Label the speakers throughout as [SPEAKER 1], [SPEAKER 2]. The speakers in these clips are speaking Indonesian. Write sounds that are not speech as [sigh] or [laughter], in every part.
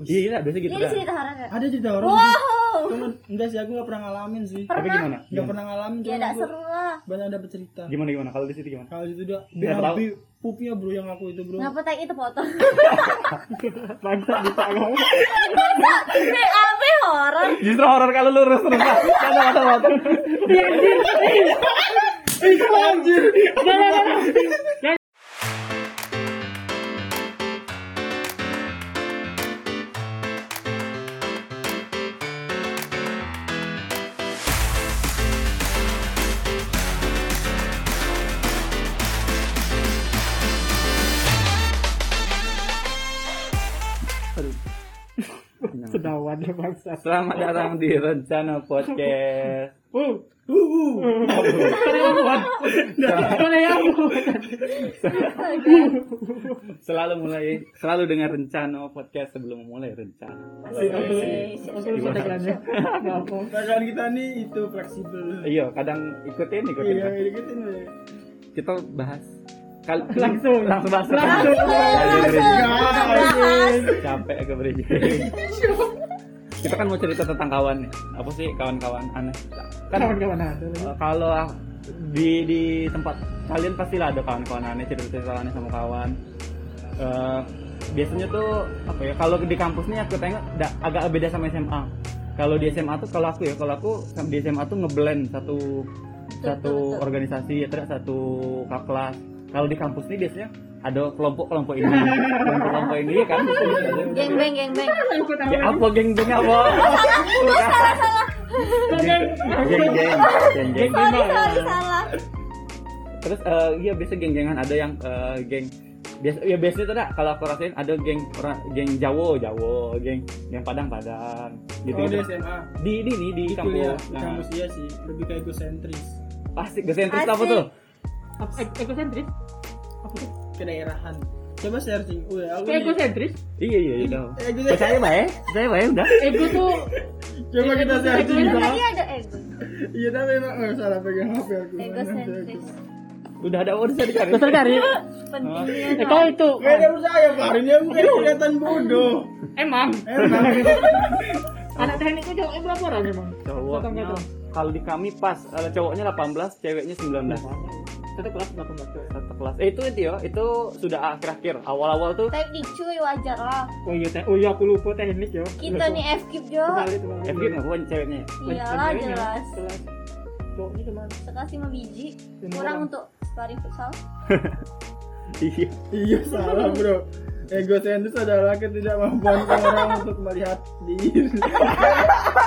[SPEAKER 1] Iya, iya, biasanya gitu
[SPEAKER 2] Ini
[SPEAKER 1] kan.
[SPEAKER 2] cerita horor nggak?
[SPEAKER 3] Ada cerita horor.
[SPEAKER 2] Wow. Ya,
[SPEAKER 3] Cuman enggak sih aku nggak pernah ngalamin sih.
[SPEAKER 1] Tapi gimana?
[SPEAKER 3] Nggak
[SPEAKER 1] Gimana
[SPEAKER 3] pernah ngalamin
[SPEAKER 2] Ya
[SPEAKER 3] cuman
[SPEAKER 2] enggak
[SPEAKER 3] aku
[SPEAKER 2] seru lah.
[SPEAKER 3] banyak dapet cerita.
[SPEAKER 1] gimana, gimana? kalau di situ gimana?
[SPEAKER 3] Kalau itu dia
[SPEAKER 1] Nggak tahu.
[SPEAKER 3] BHB [laughs] pupnya bro yang aku itu bro.
[SPEAKER 2] Ngapa tag itu [laughs] foto?
[SPEAKER 1] Bangsa bisa kamu.
[SPEAKER 2] BAB ya, horor.
[SPEAKER 1] Justru horor kalau lurus terus. Ada ada ada. Iya,
[SPEAKER 3] Anjir.
[SPEAKER 1] iya, Sedawan bangsa. Selamat datang di Rencana Podcast.
[SPEAKER 3] [laughs] Uh, uh, uh.
[SPEAKER 1] [laughs] Selalu mulai, selalu dengan rencana podcast sebelum mulai rencana.
[SPEAKER 3] Bacaan kita nih itu fleksibel.
[SPEAKER 1] Iya, kadang ikutin ikutin.
[SPEAKER 3] Iya, ikutin deh.
[SPEAKER 1] Kita bahas Kal- langsung langsung bahas langsung. Capek aku beri. kita kan mau cerita tentang kawan nih. apa sih kawan-kawan aneh kan
[SPEAKER 3] Kawan-kawan ada lagi.
[SPEAKER 1] eh, kalau di di tempat kalian pastilah ada kawan-kawan aneh cerita-cerita aneh sama kawan Eh, biasanya tuh apa ya kalau di kampus nih aku tengok da- agak beda sama SMA kalau di SMA tuh kalau aku ya kalau aku di SMA tuh ngeblend satu satu
[SPEAKER 2] betul.
[SPEAKER 1] organisasi ya tidak satu kak- kelas kalau di kampus nih biasanya ada kelompok-kelompok ini kelompok-kelompok ini kan
[SPEAKER 2] Geng beng geng beng.
[SPEAKER 1] Ya apa geng-gengnya apa? Geng- Geng-geng, geng-geng.
[SPEAKER 2] Sorry sorry salah.
[SPEAKER 1] Terus eh, iya biasa geng-gengan ada yang eh, geng biasa ya biasanya tuh dah, kalau aku rasain ada geng orang geng Jawa Jawa geng geng Padang Padang gitu,
[SPEAKER 3] Kalau
[SPEAKER 1] gitu.
[SPEAKER 3] di SMA,
[SPEAKER 1] di ini nih di
[SPEAKER 3] di kuliah,
[SPEAKER 1] kampus
[SPEAKER 3] di
[SPEAKER 1] nah,
[SPEAKER 3] kampus iya sih, lebih kayak egosentris,
[SPEAKER 1] pasti gesentris apa
[SPEAKER 2] Asik.
[SPEAKER 1] tuh
[SPEAKER 4] E- Ekosentris?
[SPEAKER 3] kedaerahan. Coba searching, Udah, aku nih-
[SPEAKER 4] Ekosentris?
[SPEAKER 1] iya iya iya dah.
[SPEAKER 3] egosentris.
[SPEAKER 1] percaya bae percaya bae udah
[SPEAKER 4] Ego tuh
[SPEAKER 3] Coba kita searching.
[SPEAKER 2] Itu
[SPEAKER 4] Iya.
[SPEAKER 2] tadi ada ego.
[SPEAKER 3] Iya, tapi emang oh, salah pegang HP aku.
[SPEAKER 2] Egosentris.
[SPEAKER 1] udah ada udah bisa dicari
[SPEAKER 4] Terus dari
[SPEAKER 2] Pentingnya.
[SPEAKER 4] Kau itu
[SPEAKER 3] Gak ada percaya, Pak. Hari ini aku kayak kelihatan bodoh.
[SPEAKER 4] Emang
[SPEAKER 3] Emang.
[SPEAKER 4] Anak teknik itu cowoknya berapa orang emang?
[SPEAKER 1] cowoknya kalau di kami pas eh, cowoknya 18 ceweknya 19
[SPEAKER 4] Satu kelas berapa mbak?
[SPEAKER 1] satu kelas eh, itu itu ya itu sudah akhir-akhir awal-awal tuh
[SPEAKER 2] Tapi dicuy wajar lah.
[SPEAKER 4] Oh iya, te- oh iya aku lupa Iya, teknik ya
[SPEAKER 2] Kita nih FKIP jo.
[SPEAKER 1] FG ngakuin ceweknya ya?
[SPEAKER 2] Iyalah jelas.
[SPEAKER 4] Cowoknya cuma
[SPEAKER 2] Sekasih membiji.
[SPEAKER 4] Lima
[SPEAKER 2] Kurang
[SPEAKER 4] orang.
[SPEAKER 2] untuk sparring futsal.
[SPEAKER 1] iya
[SPEAKER 3] Iya, salah, Bro. Egosentris adalah ketidakmampuan orang untuk melihat diri.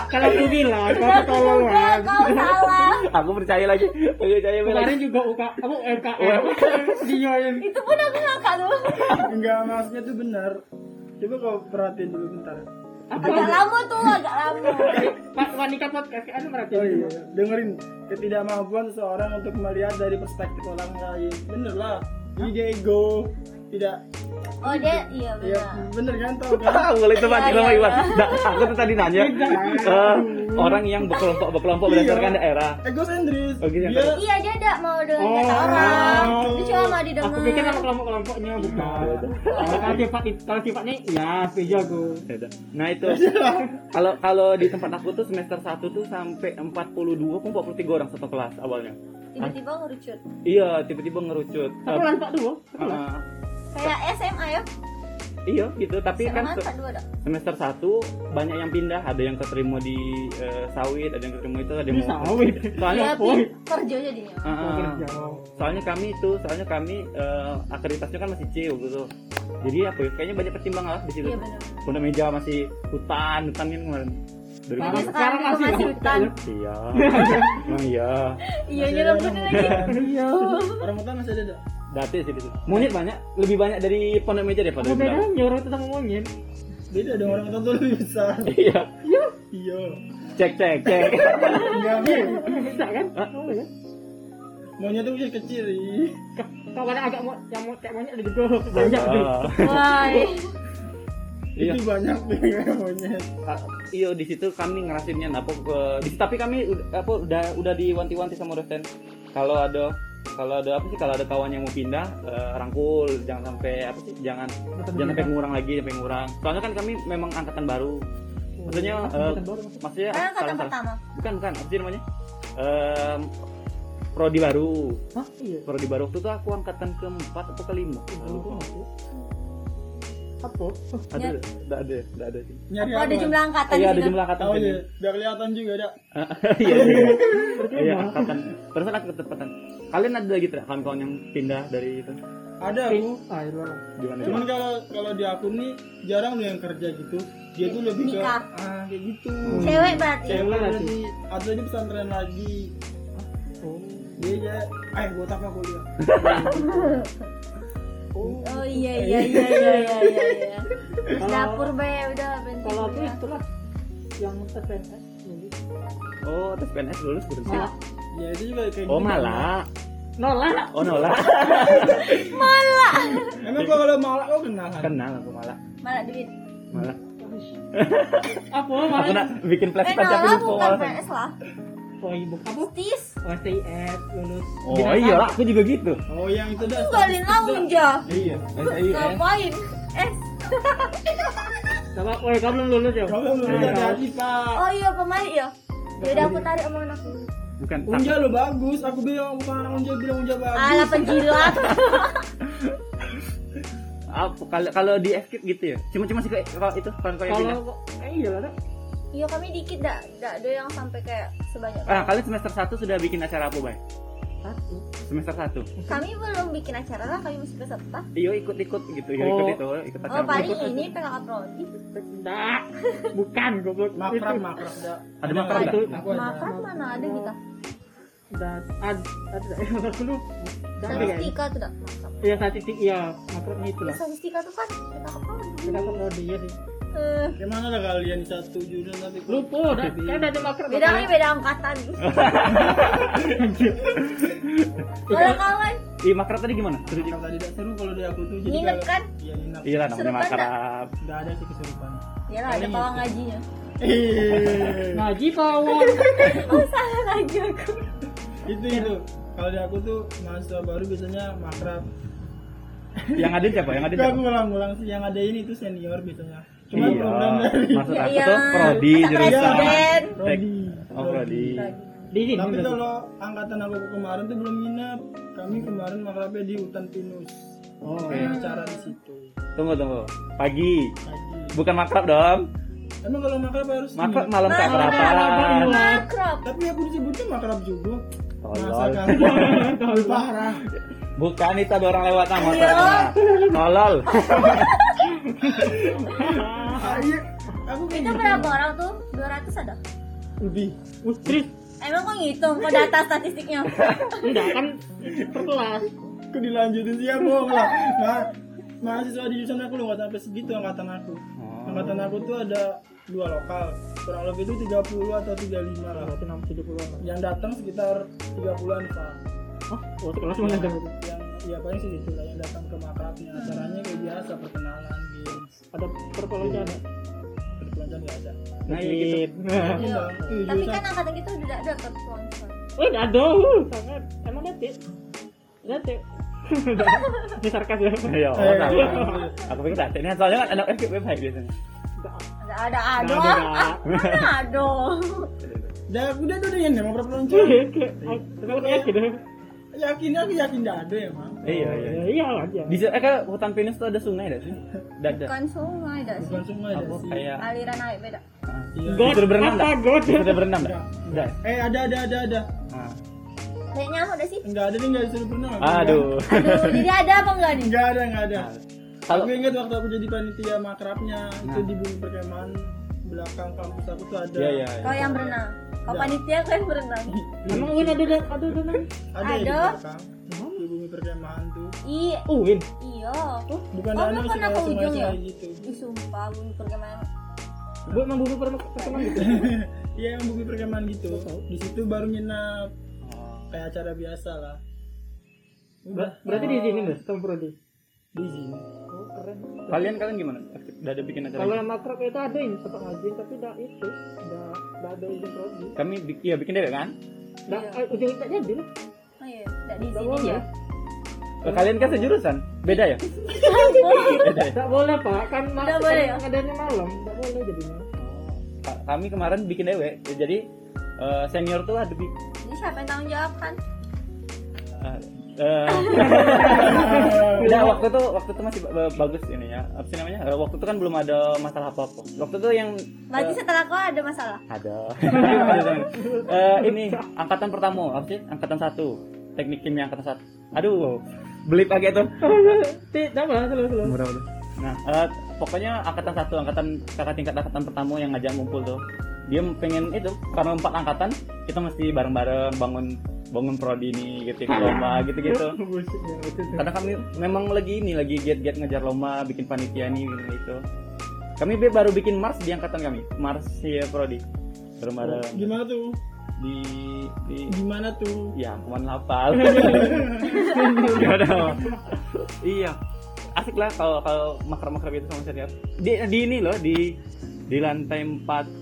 [SPEAKER 4] Kalau aku
[SPEAKER 2] [laughs] Enggak
[SPEAKER 4] bilang, kau
[SPEAKER 2] juga
[SPEAKER 4] ketolongan
[SPEAKER 2] kau salah.
[SPEAKER 1] aku percaya lagi aku percaya lagi
[SPEAKER 4] Kemarin juga UK, apa
[SPEAKER 2] Iya.
[SPEAKER 3] Iya.
[SPEAKER 4] UMKM Dinyoin
[SPEAKER 2] Itu pun aku ngakak tuh.
[SPEAKER 3] Enggak, maksudnya tuh benar. Coba kau perhatiin dulu bentar.
[SPEAKER 2] Agak lama tuh, agak lama.
[SPEAKER 4] Pak Wanika Podcast, ada merhatiin
[SPEAKER 3] Oh iya, dengerin. Ketidakmampuan seorang untuk melihat dari perspektif orang lain. Bener lah. Ini dia ego. Tidak.
[SPEAKER 2] Oh dia, iya
[SPEAKER 3] Ya,
[SPEAKER 2] benar.
[SPEAKER 3] bener kan? Tau kan?
[SPEAKER 1] tahu lah itu mati
[SPEAKER 2] Iya,
[SPEAKER 1] sama
[SPEAKER 2] iya.
[SPEAKER 1] Iwan Nah, aku tuh tadi nanya eh, orang yang berkelompok berkelompok berdasarkan
[SPEAKER 3] Iya.
[SPEAKER 1] daerah
[SPEAKER 3] Egosentris.
[SPEAKER 1] Oke, yang
[SPEAKER 3] Dia
[SPEAKER 2] Iya dia tidak mau dengan kata orang. Dia cuma mau didengar.
[SPEAKER 4] Aku pikir kalau kelompok-kelompoknya oh,
[SPEAKER 3] Nah,
[SPEAKER 4] bukan.
[SPEAKER 2] Iya.
[SPEAKER 4] Kalau sifat kalau sifatnya ya setuju aku.
[SPEAKER 1] Yaudah. nah itu kalau kalau di tempat aku tuh semester 1 tuh sampai 42 pun 43 orang satu kelas awalnya
[SPEAKER 2] Tiba-tiba ngerucut.
[SPEAKER 1] iya tiba-tiba ngerucut
[SPEAKER 4] Satu
[SPEAKER 1] Eh,
[SPEAKER 4] kelas Pak dua.
[SPEAKER 1] eh,
[SPEAKER 2] Kayak SMA ya.
[SPEAKER 1] iya gitu tapi kan
[SPEAKER 2] SMA tak dua dah.
[SPEAKER 1] semester 1 banyak yang pindah ada yang keterima di eh, sawit ada yang keterima itu ada yang
[SPEAKER 4] Di sawit.
[SPEAKER 1] soalnya
[SPEAKER 2] Dia
[SPEAKER 4] boy.
[SPEAKER 2] pi- kerja jadinya.
[SPEAKER 1] Ah, ah.
[SPEAKER 3] iya.
[SPEAKER 2] Iya,
[SPEAKER 1] soalnya kami itu soalnya kami eh, aktivitasnya kan masih CEO gitu jadi apa ya kayaknya banyak pertimbangan lah di situ
[SPEAKER 2] Iya benar.
[SPEAKER 1] Bunda meja masih hutan hutan kan kemarin dari
[SPEAKER 2] Tapi
[SPEAKER 1] kemarin.
[SPEAKER 2] sekarang
[SPEAKER 4] Sekarang
[SPEAKER 2] itu
[SPEAKER 4] masih
[SPEAKER 2] masih
[SPEAKER 4] lah.
[SPEAKER 2] hutan.
[SPEAKER 4] [laughs]
[SPEAKER 1] iya emang iya
[SPEAKER 2] Iya nyerobotnya
[SPEAKER 3] [laughs]
[SPEAKER 2] lagi. Iya.
[SPEAKER 3] orang hutan masih ada. dak?
[SPEAKER 1] dati sih di situ monyet banyak lebih banyak dari pondok meja deh pada
[SPEAKER 4] Apa bedanya orang itu sama monyet?
[SPEAKER 3] Beda dong orang hutan tuh lebih besar.
[SPEAKER 1] iya
[SPEAKER 3] Iya.
[SPEAKER 1] cek cek cek
[SPEAKER 2] [laughs]
[SPEAKER 3] Enggak mau.
[SPEAKER 4] Bisa kan? Boleh kan?
[SPEAKER 3] Maunya tuh kecil kecil. ih.
[SPEAKER 4] Kalau kadang agak mau yang mau kayak monyet ada juga [laughs] banyak tuh.
[SPEAKER 1] Ah.
[SPEAKER 2] Why?
[SPEAKER 1] Iya.
[SPEAKER 3] Itu banyak [laughs] banget maunya.
[SPEAKER 1] Ah, iya di situ kami Nah, ngerasinnya apa ke di- tapi kami ud- apa udah udah diwanti-wanti sama dosen kalau ada kalau ada apa sih kalau ada kawan yang mau pindah eh, rangkul jangan sampai apa sih jangan jangan sampai ngurang lagi sampai ngurang soalnya kan kami memang angkatan baru maksudnya eh, maksudnya
[SPEAKER 2] Karena
[SPEAKER 1] salah,
[SPEAKER 2] kata
[SPEAKER 1] salah.
[SPEAKER 2] Ah, pertama.
[SPEAKER 1] bukan bukan apa sih namanya Em, prodi baru
[SPEAKER 4] Hah? Iya.
[SPEAKER 1] prodi baru waktu itu aku angkatan keempat atau kelima
[SPEAKER 4] Lupa aku. Apa?
[SPEAKER 1] ada
[SPEAKER 2] Ya.
[SPEAKER 1] tidak ada tidak ada sih
[SPEAKER 3] Nyari
[SPEAKER 2] Oh, ada
[SPEAKER 3] apa?
[SPEAKER 2] jumlah angkatan
[SPEAKER 1] iya ada
[SPEAKER 2] juga.
[SPEAKER 1] jumlah angkatan
[SPEAKER 3] Oh
[SPEAKER 1] kayaknya.
[SPEAKER 3] iya, udah kelihatan juga ada.
[SPEAKER 1] iya iya iya
[SPEAKER 4] mah.
[SPEAKER 1] angkatan terus ada ketepatan kalian ada lagi tidak kawan-kawan yang pindah dari itu
[SPEAKER 3] Ada aku.
[SPEAKER 4] Pink. Ah, iya.
[SPEAKER 1] gimana
[SPEAKER 3] Cuman kalau kalau di aku nih jarang loh yang kerja gitu. Dia tuh lebih ke
[SPEAKER 2] Nikah.
[SPEAKER 3] ah kayak gitu.
[SPEAKER 2] Cewek berarti.
[SPEAKER 3] Cewek
[SPEAKER 4] Gimana
[SPEAKER 3] lagi atau di pesantren lagi.
[SPEAKER 4] Oh.
[SPEAKER 3] Dia ya, eh gue tak aku dia.
[SPEAKER 4] Oh.
[SPEAKER 2] Oh iya iya iya iya iya. iya, iya. Terus dapur be udah berhenti.
[SPEAKER 4] Kalau aku
[SPEAKER 2] ya.
[SPEAKER 4] itulah yang TPNS. Jadi
[SPEAKER 1] oh tes PNS lulus belum sih
[SPEAKER 4] Malah.
[SPEAKER 3] Ya itu juga kayak
[SPEAKER 1] oh
[SPEAKER 3] gitu.
[SPEAKER 1] malah
[SPEAKER 4] nolak.
[SPEAKER 1] oh
[SPEAKER 3] [laughs]
[SPEAKER 1] nolak
[SPEAKER 3] Emang kalau malah kau kenal kan?
[SPEAKER 1] kenal aku malah
[SPEAKER 2] Malah duit.
[SPEAKER 1] malah
[SPEAKER 4] Apa?
[SPEAKER 1] aku
[SPEAKER 4] Malah.
[SPEAKER 1] nak bikin
[SPEAKER 2] Eh
[SPEAKER 1] flashcard tapi lupa
[SPEAKER 2] nolak bukan
[SPEAKER 1] malah.
[SPEAKER 2] PNS lah.
[SPEAKER 4] Oh, ibu Oh, apa?
[SPEAKER 2] Stis.
[SPEAKER 4] OSTIS lulus.
[SPEAKER 1] oh iya lah aku juga gitu
[SPEAKER 3] Oh yang itu dah.
[SPEAKER 2] Tinggalin langsung aja.
[SPEAKER 3] Iya.
[SPEAKER 2] Ngapain? Eh.
[SPEAKER 4] Sama, oh, kamu belum lulus ya?
[SPEAKER 3] Kau belum
[SPEAKER 4] Iya.
[SPEAKER 3] ada hati pak.
[SPEAKER 2] Oh iya pemain ya. Ya udah aku tarik omongan aku.
[SPEAKER 1] bukan tak-
[SPEAKER 3] Unja lo bagus, aku bilang bukan anak Unja bilang Unja bagus.
[SPEAKER 2] Oh. Alah penjilat.
[SPEAKER 1] apa kalau kalau di FKIP gitu ya cuma cuma sih kayak kalau itu kawan kawan yang pindah
[SPEAKER 4] Kalau eh iya lah. Nak.
[SPEAKER 2] Iya kami dikit dak dak ada yang sampai kayak sebanyak.
[SPEAKER 1] ah kalian semester 1 sudah bikin acara apa bay
[SPEAKER 4] Satu.
[SPEAKER 1] semester 1
[SPEAKER 2] Kami belum bikin acara lah, kami masih peserta.
[SPEAKER 1] iyo ikut ikut gitu iyo
[SPEAKER 4] Oh.
[SPEAKER 1] ikut itu ikut acara
[SPEAKER 2] Oh paling ini PKK Prodi.
[SPEAKER 4] Tidak. Bukan goblok.
[SPEAKER 3] Makrab,
[SPEAKER 4] Itu.
[SPEAKER 3] makrab dah.
[SPEAKER 1] Ada makrab
[SPEAKER 3] Aku
[SPEAKER 1] dah?
[SPEAKER 3] Aku ada.
[SPEAKER 2] Makan mana ada kita?
[SPEAKER 4] Dan ad ad ad- aku lu. Tapi kan.
[SPEAKER 2] Statistika tuh dak. makan.
[SPEAKER 4] Iya statistik iya makrabnya itu lah.
[SPEAKER 2] Statistika tuh kan PKK Prodi.
[SPEAKER 4] Kita kalau dia sih.
[SPEAKER 2] Eh,
[SPEAKER 3] Gimana lah kalian satu jurusan tapi
[SPEAKER 4] Lupa, dah. kan ada makrab.
[SPEAKER 2] Beda kami beda angkatan. Kalau kawan
[SPEAKER 1] Ih, makrab Iya, tadi gimana? Seru juga.
[SPEAKER 3] Makrab tadi tidak seru kalau di aku tuh jadi
[SPEAKER 2] nginep
[SPEAKER 3] kalau-
[SPEAKER 2] kan?
[SPEAKER 3] Iya nginep.
[SPEAKER 1] Iya lah namanya
[SPEAKER 2] Seru kan,
[SPEAKER 1] makrab.
[SPEAKER 3] Tidak ada sih kesurupan.
[SPEAKER 2] Ya lah ada kawan ngajinya. [laughs]
[SPEAKER 3] Ih,
[SPEAKER 1] Iya.
[SPEAKER 4] Ngaji kawan.
[SPEAKER 2] Oh salah lagi aku.
[SPEAKER 3] [laughs] itu itu. Kalau di aku tuh mahasiswa baru biasanya makrab.
[SPEAKER 1] Yang ada siapa? Yang ada
[SPEAKER 3] Itu
[SPEAKER 1] siapa?
[SPEAKER 3] aku ulang-ulang sih yang ada ini tuh senior biasanya. Cuma
[SPEAKER 1] Iya.
[SPEAKER 3] problem dari
[SPEAKER 1] Maksud
[SPEAKER 2] Ya,
[SPEAKER 1] aku
[SPEAKER 2] iya.
[SPEAKER 1] tuh prodi
[SPEAKER 2] Masa
[SPEAKER 1] jurusan.
[SPEAKER 2] presiden.
[SPEAKER 1] Tek.
[SPEAKER 3] Prodi.
[SPEAKER 1] Oh prodi.
[SPEAKER 4] Di sini.
[SPEAKER 3] Tapi
[SPEAKER 4] berarti.
[SPEAKER 3] kalau angkatan aku kemarin tuh belum nginep. Kami kemarin makrabnya di hutan pinus.
[SPEAKER 1] Oh, Oke.
[SPEAKER 3] Kayak acara di situ.
[SPEAKER 1] Tunggu tunggu. Pagi.
[SPEAKER 3] Pagi.
[SPEAKER 1] Bukan makrab dong.
[SPEAKER 3] Emang kalau makrab harus
[SPEAKER 1] Makrab
[SPEAKER 3] nginep?
[SPEAKER 1] malam tak
[SPEAKER 2] Malam,
[SPEAKER 1] sarapan.
[SPEAKER 2] Makrab.
[SPEAKER 3] Tapi aku disebutnya makrab juga. Masa
[SPEAKER 1] [laughs] Tolol.
[SPEAKER 3] kamu Lebih parah.
[SPEAKER 1] Bukan itu ada orang lewat nama
[SPEAKER 2] Iya.
[SPEAKER 1] Tolol.
[SPEAKER 3] Ah, iya. Aku kayak
[SPEAKER 2] Itu berapa orang tuh? 200 ada?
[SPEAKER 3] lebih.
[SPEAKER 4] Wih, serius?
[SPEAKER 2] Emang kok ngitung kok data statistiknya?
[SPEAKER 4] Tidak kan per kelas.
[SPEAKER 3] Aku dilanjutin sih ya bohong lah. Nah, mahasiswa di jurusan aku lo nggak sampai segitu angkatan aku.
[SPEAKER 1] Oh.
[SPEAKER 3] Angkatan aku tuh ada dua lokal. Kurang lebih itu 30 atau 35 lah.
[SPEAKER 4] Berarti enam tujuh puluh an.
[SPEAKER 3] Yang datang sekitar 30-an pak.
[SPEAKER 4] Oh, oh kelas mana ada?
[SPEAKER 3] Yang ya paling sih itu lah yang datang ke makrabnya. Acaranya kayak biasa perkenalan, games,
[SPEAKER 4] Ada per kelas ada.
[SPEAKER 3] perkenalan nggak ada.
[SPEAKER 1] Nah, iya gitu.
[SPEAKER 2] Iya.
[SPEAKER 3] Itu
[SPEAKER 2] Tapi
[SPEAKER 3] jurusan
[SPEAKER 2] kan angkatan kita tidak ada tersponsor.
[SPEAKER 4] Wih, aduh, sangat. Emang detik. Detik. Ini sarkas ya.
[SPEAKER 1] Iya,
[SPEAKER 3] Eh,
[SPEAKER 1] orang.
[SPEAKER 3] iya.
[SPEAKER 1] Aku pikir tak ini soalnya kan anak FKB baik biasanya.
[SPEAKER 2] Ada ada ado.
[SPEAKER 4] Nggak ada.
[SPEAKER 2] Ah, Mana ado?
[SPEAKER 3] Dah, udah udah yang mau perkenalan
[SPEAKER 4] Oke, oke. Aku yakin deh.
[SPEAKER 3] Yakin aku yakin nggak ada emang.
[SPEAKER 1] Iya, iya.
[SPEAKER 4] Ya, Iya aja.
[SPEAKER 1] Di eh, kan hutan pinus tuh ada sungai ada sih. Ada ada.
[SPEAKER 2] Bukan sungai dah sih.
[SPEAKER 3] Bukan semua ada
[SPEAKER 1] Apa
[SPEAKER 3] sih.
[SPEAKER 1] kayak
[SPEAKER 2] Aliran air beda.
[SPEAKER 3] Iya.
[SPEAKER 4] God,
[SPEAKER 1] Disuruh berenang
[SPEAKER 4] apa
[SPEAKER 1] enggak?
[SPEAKER 4] God?
[SPEAKER 1] Sudah berenang enggak? Udah.
[SPEAKER 3] Eh ada ada ada ada.
[SPEAKER 1] Ah.
[SPEAKER 2] Banyak nyamuk dah sih.
[SPEAKER 3] Enggak ada nih enggak disuruh berenang.
[SPEAKER 1] Aduh.
[SPEAKER 2] Aduh, jadi ada apa enggak nih?
[SPEAKER 3] Enggak ada enggak ada.
[SPEAKER 1] Kalau
[SPEAKER 3] Aku ingat waktu aku jadi panitia makrabnya itu
[SPEAKER 1] Nah.
[SPEAKER 3] di bumi perkemahan belakang kampus aku tuh ada.
[SPEAKER 1] Iya, iya. iya.
[SPEAKER 2] Kau yang berenang. Kau panitia kau yang berenang.
[SPEAKER 4] Emang Win ada ada ada ada.
[SPEAKER 3] Ada, ya di
[SPEAKER 2] Ada.
[SPEAKER 3] belakang. Di bumi perkemahan tuh.
[SPEAKER 2] I
[SPEAKER 1] Uh,
[SPEAKER 4] Oh, Win.
[SPEAKER 2] iya.
[SPEAKER 3] Bukan
[SPEAKER 2] Oh,
[SPEAKER 3] danau
[SPEAKER 2] lu
[SPEAKER 3] sih
[SPEAKER 2] pernah
[SPEAKER 3] kayak
[SPEAKER 2] ke
[SPEAKER 3] sungai
[SPEAKER 2] ujung ya?
[SPEAKER 3] sungai gitu. [laughs]
[SPEAKER 2] Ih, sumpah bumi perkemahan.
[SPEAKER 4] Bu emang bubur pernah pertama gitu.
[SPEAKER 3] Iya yang bumi perkemahan gitu. Di situ baru nginap kayak acara biasa lah. Udah
[SPEAKER 4] Ber- Berarti di sini Mas, Tom Brody.
[SPEAKER 3] di sini.
[SPEAKER 4] Oh, keren.
[SPEAKER 1] Kalian kalian gimana? Udah ada bikin acara?
[SPEAKER 4] Kalau
[SPEAKER 1] gitu?
[SPEAKER 4] yang makrab itu ada ini tempat ngaji tapi dah itu, dah dah ada izin prodi.
[SPEAKER 1] Kami bi- ya bikin deh kan?
[SPEAKER 4] Dah
[SPEAKER 2] Iya.
[SPEAKER 4] eh, ujung tak jadi lah.
[SPEAKER 2] Oh iya, tidak minta di
[SPEAKER 4] Nggak
[SPEAKER 2] sini
[SPEAKER 4] boleh.
[SPEAKER 2] [laughs] ya.
[SPEAKER 1] Eh, Kalian kan sejurusan? Beda ya?
[SPEAKER 2] Iya,
[SPEAKER 1] Beda ya?
[SPEAKER 4] Nggak boleh pak, kan malam
[SPEAKER 2] Nggak boleh ya?
[SPEAKER 4] adanya malam, nggak boleh jadinya.
[SPEAKER 1] Ka- Kami kemarin bikin dewe, ya, jadi eh, senior tuh ada bi-
[SPEAKER 2] Jadi siapa yang tanggung jawab kan?
[SPEAKER 1] eh, eh, Udah waktu tuh waktu tuh masih ba- ba- bagus ini ya. Apa sih namanya? Eh, waktu itu kan belum ada masalah apa-apa. Waktu itu yang
[SPEAKER 2] Lagi
[SPEAKER 1] eh,
[SPEAKER 2] setelah kau ada masalah.
[SPEAKER 1] ada. Eh, ini angkatan pertama, apa sih? Angkatan satu. Teknik kimia angkatan satu. Aduh, beli pakai tuh.
[SPEAKER 4] Tidak, apa, selalu selalu.
[SPEAKER 1] Nah, eh, pokoknya angkatan satu, angkatan kakak tingkat angkatan pertama yang ngajak ngumpul tuh. Dia pengen itu karena empat angkatan kita mesti bareng-bareng bangun bangun prodi ini gitu ikut lomba gitu-gitu. Karena kami memang lagi ini lagi giat-giat ngejar lomba, bikin panitia nih gitu, gitu. Kami be- baru bikin Mars di angkatan kami, Mars ya prodi. Bareng-bareng
[SPEAKER 3] Gimana tuh?
[SPEAKER 1] di di
[SPEAKER 3] Gimana tuh?
[SPEAKER 1] ya cuman [laughs] hafal. Gak ada. iya. Asik lah kalau kalau maker-maker gitu sama senior. Di, di ini loh di di lantai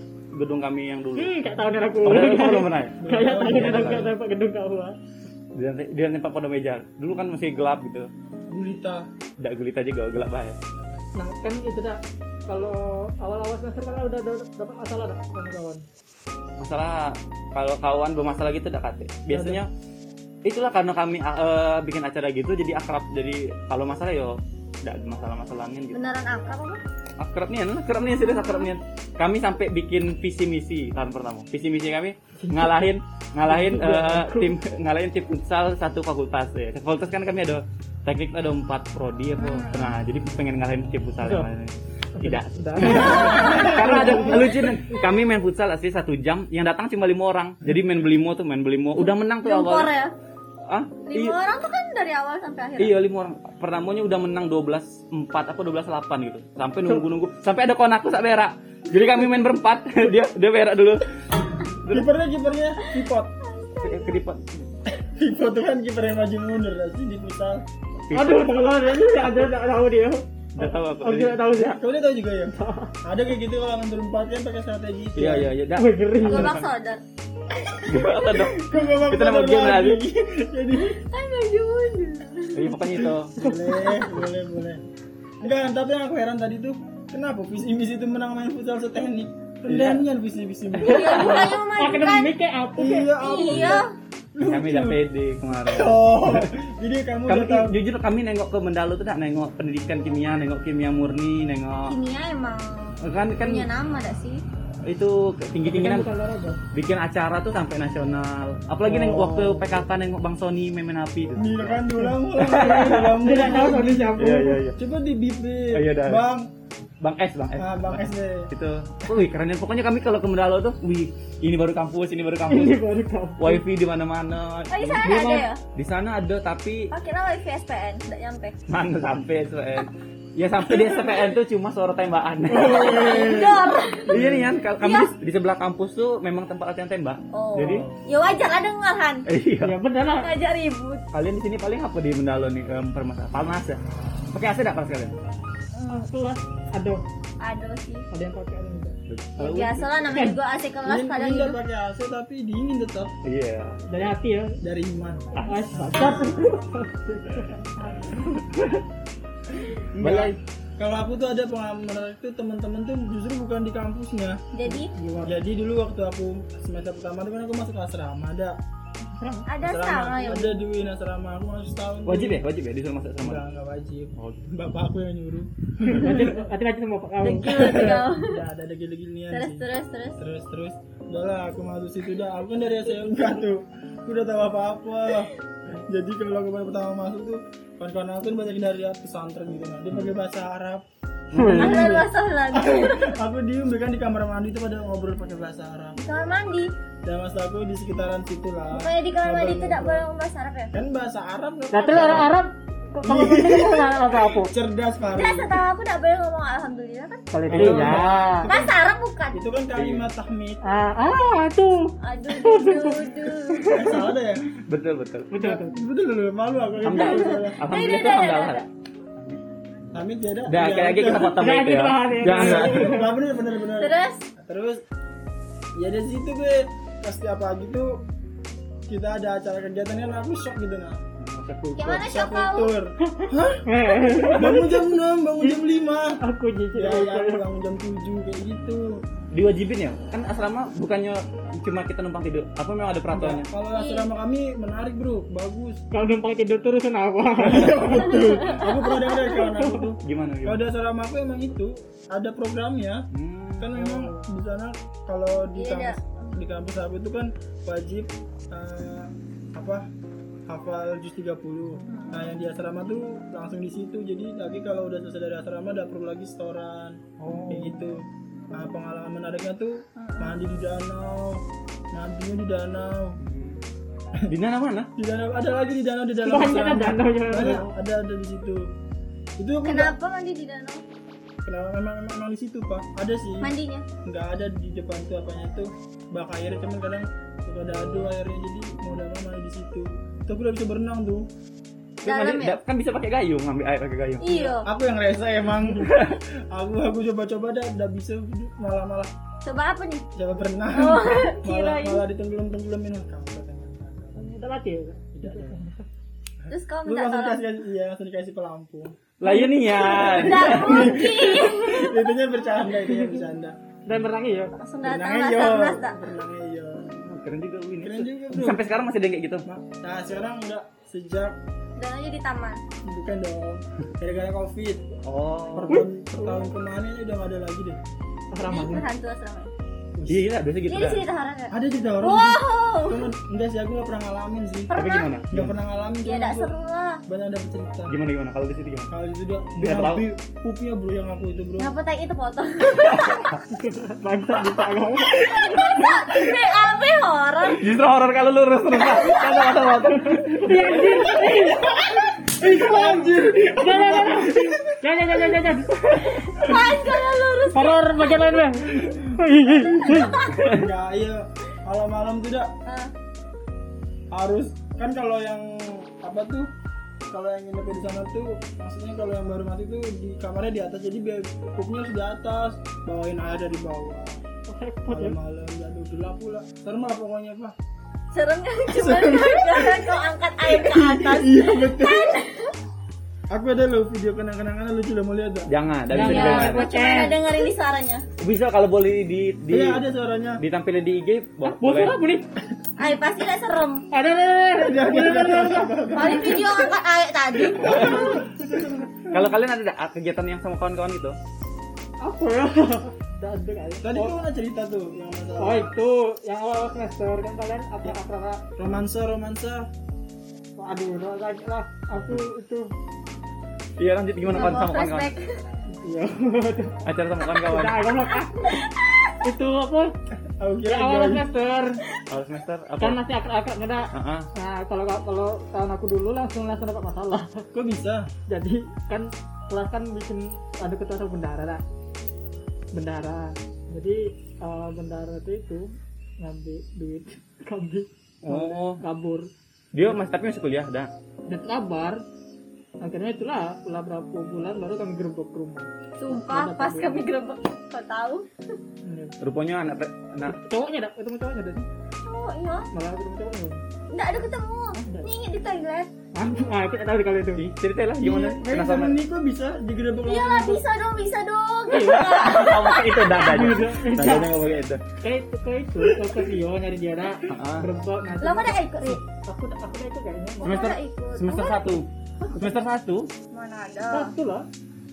[SPEAKER 1] 4 gedung kami yang dulu.
[SPEAKER 4] Hmm, [laughs] nggak tahu nih aku.
[SPEAKER 1] Oh, [laughs] udah, udah, belum pernah ya?
[SPEAKER 4] Kayak tanya aku nggak dapat gedung kau ah.
[SPEAKER 1] Di lantai, di lantai 4 pondok meja. Dulu kan masih gelap gitu.
[SPEAKER 3] Gulita.
[SPEAKER 1] Enggak gelita juga gelap banget.
[SPEAKER 4] Nah kan itu dah. Kalau awal-awal semester kan udah udah dapat masalah dah sama kawan.
[SPEAKER 1] masalah kalau kawan bermasalah gitu udah kate biasanya itulah karena kami eh, bikin acara gitu jadi akrab jadi kalau masalah yo tidak masalah masalahnya gitu
[SPEAKER 2] Beneran angka apa?
[SPEAKER 1] akrab nih akrab nih serius akrab nih kami sampai bikin visi misi tahun pertama visi misi kami ngalahin ngalahin eh, tim ngalahin tim futsal satu fakultas ya fakultas kan kami ada teknik ada empat prodi
[SPEAKER 2] Hmm.
[SPEAKER 1] apa nah jadi pengen ngalahin tim futsal yang lain [laughs] tidak
[SPEAKER 4] Dah.
[SPEAKER 1] karena ada lucu nih. kami main futsal asli satu jam yang datang cuma lima orang jadi main belimo tuh main belimo udah menang tuh
[SPEAKER 2] Lumpur
[SPEAKER 1] awal
[SPEAKER 2] ya.
[SPEAKER 1] ah
[SPEAKER 2] Lima
[SPEAKER 1] iya
[SPEAKER 2] orang tuh kan dari awal sampai akhir.
[SPEAKER 1] Iya lima orang. Pertamanya udah menang 12 4 apa 12 8 gitu. Sampai nunggu-nunggu sampai ada konaku sak berak. Jadi kami main berempat, [laughs] dia dia berak dulu.
[SPEAKER 3] Kipernya kipernya kipot.
[SPEAKER 1] Ke- Kedipot.
[SPEAKER 3] Kipot tuh kan kiper yang maju mundur lah sih di futsal.
[SPEAKER 4] Aduh, kalau ada ini nggak ada nggak tahu dia.
[SPEAKER 1] Enggak tahu aku.
[SPEAKER 4] Aku nggak tahu sih.
[SPEAKER 3] Kau dia tahu juga ya? Ada kayak gitu kalau nganter empat kan pakai strategi. itu.
[SPEAKER 1] Iya iya iya. dah.
[SPEAKER 4] Wih geri.
[SPEAKER 2] Gobak sodor.
[SPEAKER 1] Apa dong?
[SPEAKER 3] Kau nggak mau
[SPEAKER 1] Kita nama
[SPEAKER 3] mundur
[SPEAKER 1] game lagi.
[SPEAKER 3] Jadi
[SPEAKER 2] Kan baju mundur.
[SPEAKER 1] Iya pokoknya itu.
[SPEAKER 3] boleh boleh boleh. Enggak, tapi yang aku heran tadi tuh kenapa visi misi itu menang main futsal seteknik? Pendanian visi misi.
[SPEAKER 2] Iya, bukannya
[SPEAKER 4] Kan-
[SPEAKER 2] memajukan.
[SPEAKER 4] Akademik kayak apa?
[SPEAKER 1] Ya
[SPEAKER 3] Iya apa?
[SPEAKER 2] Iya.
[SPEAKER 1] Kami udah pede kemarin.
[SPEAKER 3] Oh, jadi kamu
[SPEAKER 1] Kami
[SPEAKER 3] udah tahu.
[SPEAKER 1] jujur kami nengok ke Mendalu tuh dah nengok pendidikan kimia, nengok kimia murni, nengok
[SPEAKER 2] Kimia ya emang
[SPEAKER 1] kan kan
[SPEAKER 2] punya nama gak sih?
[SPEAKER 1] itu tinggi-tinggian
[SPEAKER 4] Kan Bukan olahraga.
[SPEAKER 1] bikin acara tuh sampai nasional. Apalagi nengok waktu PKK nengok Bang Sony main-main api itu.
[SPEAKER 3] Nih kan dulang ulang.
[SPEAKER 4] Dia nggak tahu soalnya siapa.
[SPEAKER 1] iya iya.
[SPEAKER 3] Coba di bip bip.
[SPEAKER 1] Oh, iya, dah.
[SPEAKER 3] Bang,
[SPEAKER 1] Bang S, Bang S.
[SPEAKER 3] ah, bang SD.
[SPEAKER 1] Itu. Wih, keren ya. Pokoknya kami kalau ke Mendalo tuh, wih, ini baru kampus, ini baru
[SPEAKER 3] [laughs]
[SPEAKER 4] Ini
[SPEAKER 1] kampus.
[SPEAKER 4] baru kau.
[SPEAKER 1] wifi di mana-mana.
[SPEAKER 2] Oh, di sana
[SPEAKER 1] Dia
[SPEAKER 2] ada
[SPEAKER 1] mau-
[SPEAKER 2] ya?
[SPEAKER 1] Di sana ada tapi
[SPEAKER 2] Oh, kira wifi SPN, gak nyampe.
[SPEAKER 1] mana sampai SPN. Ya sampai di SPN tuh cuma suara
[SPEAKER 3] [laughs]
[SPEAKER 1] tembakan. Eh.
[SPEAKER 2] Kendor.
[SPEAKER 1] iya nih kan, kalau kami di- di sebelah kampus tuh memang tempat latihan tembak.
[SPEAKER 2] Oh.
[SPEAKER 1] Jadi,
[SPEAKER 2] Ya wajar lah dengar Han.
[SPEAKER 1] eh, iya.
[SPEAKER 4] Ya benar lah.
[SPEAKER 2] Ngajak ribut.
[SPEAKER 1] Kalian di sini paling apa di Mendalo nih em, permasalahan? Panas ya. Pakai AC enggak pas kalian?
[SPEAKER 4] Ah, Kelas ada
[SPEAKER 2] Aduh sih.
[SPEAKER 4] ada yang pakai ada yang enggak.
[SPEAKER 2] Ya, biasa lah namanya juga AC kelas
[SPEAKER 3] Min-
[SPEAKER 2] kadang
[SPEAKER 3] Minder
[SPEAKER 2] hidup.
[SPEAKER 3] pakai AC tapi dingin tetap
[SPEAKER 1] Iya.
[SPEAKER 4] Dari hati ya.
[SPEAKER 3] dari iman.
[SPEAKER 4] Ah, bangsat.
[SPEAKER 3] Enggak. Kalau aku tuh ada pengalaman menarik tuh teman-teman tuh justru bukan di kampusnya.
[SPEAKER 2] Jadi
[SPEAKER 3] Jadi dulu waktu aku semester pertama tuh kan aku masuk asrama ada.
[SPEAKER 2] ada sama ya.
[SPEAKER 3] Ada di Win asrama aku masuk setahun. tuh.
[SPEAKER 1] Wajib ya, wajib ya disuruh masuk
[SPEAKER 3] Enggak,
[SPEAKER 1] sama.
[SPEAKER 3] enggak wajib.
[SPEAKER 1] Oh,
[SPEAKER 3] Bapak aku yang nyuruh.
[SPEAKER 4] Nanti nanti nanti sama Pak kau.
[SPEAKER 3] [laughs]
[SPEAKER 2] Degil degil.
[SPEAKER 3] Enggak ada ada gini-ginian
[SPEAKER 2] Terus
[SPEAKER 3] Iya sih.
[SPEAKER 2] terus terus.
[SPEAKER 3] Terus terus. Udah lah aku masuk situ dah. Aku kan dari SMK tuh. Aku udah tahu apa-apa. Jadi kalau aku baru pertama masuk tuh kawan-kawan aku kan banyak dari pesantren gitu kan. Dia pakai bahasa Arab. Hmm.
[SPEAKER 2] Ahlan wa sahlan.
[SPEAKER 3] aku diem kan di kamar mandi itu pada ngobrol pakai bahasa Arab
[SPEAKER 2] Di kamar mandi.
[SPEAKER 3] dan mas aku di sekitaran situ lah
[SPEAKER 2] Bukannya di kamar mandi tidak boleh bahasa Arab ya?
[SPEAKER 3] kan bahasa Arab nggak
[SPEAKER 4] Nah terus orang Arab
[SPEAKER 1] Iya.
[SPEAKER 4] kok kamu ngomong apa apa?
[SPEAKER 3] cerdas
[SPEAKER 2] Nah,
[SPEAKER 3] Fahri
[SPEAKER 2] setahu aku tidak boleh ngomong alhamdulillah kan.
[SPEAKER 4] Kalau itu
[SPEAKER 1] Iya.
[SPEAKER 4] ya.
[SPEAKER 2] Bahasa Arab bukan.
[SPEAKER 3] itu kan kalimat tahmid
[SPEAKER 4] Ah, ah tuh.
[SPEAKER 2] Aduh, aduh, aduh.
[SPEAKER 3] Eh, salah deh ya
[SPEAKER 1] Betul, betul.
[SPEAKER 4] Betul betul.
[SPEAKER 3] betul loh malu aku
[SPEAKER 2] Iya,
[SPEAKER 1] Alhamdulillah. Alhamdulillah itu alhamdulillah.
[SPEAKER 3] tahmid ya ada
[SPEAKER 1] Udah, kayak lagi kita potong
[SPEAKER 4] Udah,
[SPEAKER 1] itu ya.
[SPEAKER 4] kita tahan ya.
[SPEAKER 3] Iya,
[SPEAKER 1] Jangan. Kak.
[SPEAKER 3] nggak bener bener bener
[SPEAKER 2] Terus
[SPEAKER 3] terus ya dari situ gue pas tiap pagi tuh kita ada acara kegiatan kan aku shock gitu nah
[SPEAKER 2] Gimana
[SPEAKER 3] Shock
[SPEAKER 2] shock kamu?
[SPEAKER 3] kultur. Hah? bangun jam 6, bangun jam 5
[SPEAKER 4] aku jujur
[SPEAKER 1] Iya,
[SPEAKER 3] ya, ya
[SPEAKER 4] aja.
[SPEAKER 3] aku bangun jam 7 kayak gitu
[SPEAKER 1] diwajibin ya kan asrama bukannya cuma kita numpang tidur apa memang ada peraturannya
[SPEAKER 3] kalau
[SPEAKER 2] Iya.
[SPEAKER 3] asrama kami menarik bro bagus
[SPEAKER 4] kalau numpang tidur terus kenapa
[SPEAKER 1] Iya,
[SPEAKER 3] betul aku pernah dengar kawan aku tuh
[SPEAKER 1] gimana
[SPEAKER 3] kalau
[SPEAKER 1] gimana
[SPEAKER 3] di asrama aku emang itu ada programnya
[SPEAKER 1] Hmm.
[SPEAKER 3] kan memang di sana kalau di
[SPEAKER 2] Iya,
[SPEAKER 3] kampus di kampus aku itu kan wajib eh, apa hafal juz 30
[SPEAKER 2] Hmm.
[SPEAKER 3] nah yang di asrama tuh langsung di situ jadi lagi kalau udah selesai dari asrama udah perlu lagi setoran
[SPEAKER 2] Oh.
[SPEAKER 3] kayak gitu nah pengalaman menariknya tuh
[SPEAKER 2] Hmm.
[SPEAKER 3] mandi di danau mandinya di danau
[SPEAKER 1] di mana mana
[SPEAKER 3] di danau ada lagi di danau di danau
[SPEAKER 4] Banyak
[SPEAKER 3] asrama.
[SPEAKER 4] danau
[SPEAKER 1] Iya.
[SPEAKER 4] yang-
[SPEAKER 3] Banyak, ada ada di situ itu aku nggak-
[SPEAKER 2] Kenapa mandi di danau?
[SPEAKER 3] kenapa memang memang memang di situ pak ada sih
[SPEAKER 2] Mandinya?
[SPEAKER 3] nggak ada di depan tuh apanya tuh bak air cuman kadang suka ada adu airnya jadi mau udah mana di situ tapi udah bisa berenang tuh
[SPEAKER 2] Dalam ya?
[SPEAKER 1] kan bisa pakai gayung ngambil air pakai gayung
[SPEAKER 2] Iya.
[SPEAKER 3] aku yang rese
[SPEAKER 2] [laughs]
[SPEAKER 3] emang aku aku coba-coba dah udah bisa malah malah
[SPEAKER 2] Coba apa nih?
[SPEAKER 3] coba berenang
[SPEAKER 2] Oh,
[SPEAKER 3] malah
[SPEAKER 2] kirain.
[SPEAKER 3] malah ditenggelam tenggelamin kamu katanya
[SPEAKER 4] kita mati ya
[SPEAKER 3] tidak ada
[SPEAKER 2] Terus kau
[SPEAKER 3] lu
[SPEAKER 2] minta
[SPEAKER 3] langsung
[SPEAKER 2] tolong?
[SPEAKER 3] dikasih iya langsung dikasih pelampung
[SPEAKER 1] lah iya nih ya
[SPEAKER 2] Tidak mungkin.
[SPEAKER 3] [laughs] itunya bercanda itunya bercanda
[SPEAKER 4] dan berenang ya
[SPEAKER 2] Langsung datang
[SPEAKER 3] berenangnya yo
[SPEAKER 2] datang datang.
[SPEAKER 3] berenangnya iya. yo
[SPEAKER 1] keren juga Win
[SPEAKER 3] keren juga bro
[SPEAKER 1] sampai sekarang masih ada yang kayak gitu
[SPEAKER 3] nah sekarang udah sejak
[SPEAKER 2] Danaunya di taman.
[SPEAKER 3] bukan dong gara-gara covid per
[SPEAKER 1] oh
[SPEAKER 3] tahun, per tahun kemarin ini udah gak ada lagi deh
[SPEAKER 2] Ini
[SPEAKER 4] asrama
[SPEAKER 2] berhantu asrama.
[SPEAKER 1] iya iya biasa gitu
[SPEAKER 2] Ini
[SPEAKER 1] kan
[SPEAKER 2] cerita horor nggak?
[SPEAKER 3] ada cerita orang
[SPEAKER 2] Wow.
[SPEAKER 3] cuma enggak sih aku gak pernah ngalamin sih
[SPEAKER 1] tapi gimana
[SPEAKER 3] gak pernah ngalamin
[SPEAKER 2] Ya
[SPEAKER 3] cuma
[SPEAKER 2] tidak
[SPEAKER 3] aku
[SPEAKER 2] seru lah.
[SPEAKER 3] banyak ada cerita
[SPEAKER 1] gimana gimana kalau di situ gimana
[SPEAKER 3] kalau itu udah
[SPEAKER 1] Nggak tahu.
[SPEAKER 3] tapi pupnya ya, bro yang aku itu bro
[SPEAKER 2] Ngapa tak itu foto?
[SPEAKER 4] bangsa bisa kamu
[SPEAKER 2] BAB horor.
[SPEAKER 1] justru horor kalau lurus terus Kak. Kata, kata, kata.
[SPEAKER 3] Eh, anjir
[SPEAKER 4] iya, jangan jangan jangan jangan jangan
[SPEAKER 2] Panjangnya ya, lurus.
[SPEAKER 4] iya, horor bagian lain bang
[SPEAKER 3] enggak iya malam-malam tuh dah
[SPEAKER 2] Eh,
[SPEAKER 3] harus kan kalau yang apa tuh kalau yang nginep di sana tuh maksudnya kalau yang baru mati tuh di kamarnya di atas jadi biar pupnya harus di atas bawain air dari bawah malam-malam aduh gelap pula serem lah pokoknya pak
[SPEAKER 2] Serem kan cuma karena kau angkat air ke atas.
[SPEAKER 3] iya betul aku ada loh video kenang-kenangan lucu lo mau lihat gak?
[SPEAKER 1] jangan tidak bisa
[SPEAKER 4] Jangan.
[SPEAKER 1] didengar.
[SPEAKER 2] Aku Iya, cuma nggak dengerin di suaranya.
[SPEAKER 1] bisa kalau boleh di di
[SPEAKER 3] iya ada suaranya
[SPEAKER 1] ditampilin di IG bo- boleh
[SPEAKER 4] bosnya apa nih
[SPEAKER 2] Ay, pasti lah serem.
[SPEAKER 4] ada ada ada
[SPEAKER 3] Ada, ada, ada, ada, ada.
[SPEAKER 2] Paling video angkat air tadi.
[SPEAKER 1] kalau kalian ada nggak kegiatan yang sama kawan-kawan gitu
[SPEAKER 4] apa ya Tidak ada kali.
[SPEAKER 3] tadi kamu ada cerita tuh yang
[SPEAKER 4] Oh
[SPEAKER 3] masalah
[SPEAKER 4] itu yang awal semester kan kalian apa apa
[SPEAKER 3] romansa romansa
[SPEAKER 4] aduh lah lagi lah aku itu
[SPEAKER 1] iya lanjut gimana kawan sama kawan-kawan
[SPEAKER 2] flashback.
[SPEAKER 4] iya
[SPEAKER 1] acara sama kawan-kawan
[SPEAKER 4] udah goblok ah itu apa
[SPEAKER 3] aku kira
[SPEAKER 4] yang awal
[SPEAKER 3] guys.
[SPEAKER 4] semester
[SPEAKER 1] awal semester apa
[SPEAKER 4] kan masih akrab-akrab ngeda
[SPEAKER 1] Heeh.
[SPEAKER 4] nah kalau kalau tahun aku dulu langsung langsung dapat masalah [laughs]
[SPEAKER 3] kok bisa
[SPEAKER 4] jadi kan kelas kan bikin ada ketua sama bendara dah bendara jadi eh, bendara itu, itu ngambil duit [laughs] kambing
[SPEAKER 1] oh
[SPEAKER 4] kabur
[SPEAKER 1] dia masih tapi masih kuliah dah
[SPEAKER 4] dan kabar akhirnya itulah setelah berapa bulan baru kami gerbek ke rumah
[SPEAKER 2] Sumpah pas kami gerebek. Kau tahu?
[SPEAKER 4] Ini.
[SPEAKER 1] rupanya anak anak
[SPEAKER 4] cowoknya dah ketemu cowoknya dah
[SPEAKER 2] Oh iya.
[SPEAKER 4] malah ketemu cowoknya
[SPEAKER 2] Nggak ada ketemu. Nyingit di toilet.
[SPEAKER 4] [laughs] ah ah, kita tahu di kali itu
[SPEAKER 1] Ih, ceritain lah gimana
[SPEAKER 3] Kayak
[SPEAKER 1] penasaran
[SPEAKER 3] temen ini kok bisa digerebek
[SPEAKER 2] Iya
[SPEAKER 3] orang
[SPEAKER 2] lah bisa dong, bisa dong.
[SPEAKER 1] Kamu pakai itu dadanya dadanya nggak pakai itu
[SPEAKER 4] kayak itu kayak itu kalau ke Rio nyari dia dah
[SPEAKER 1] Heeh.
[SPEAKER 4] gerbek nanti
[SPEAKER 2] Lama udah ikut, Ri?
[SPEAKER 4] aku aku dah itu kayaknya mau
[SPEAKER 1] semester
[SPEAKER 2] Mana ikut?
[SPEAKER 1] semester satu semester satu
[SPEAKER 2] Mana ada?
[SPEAKER 4] satu lah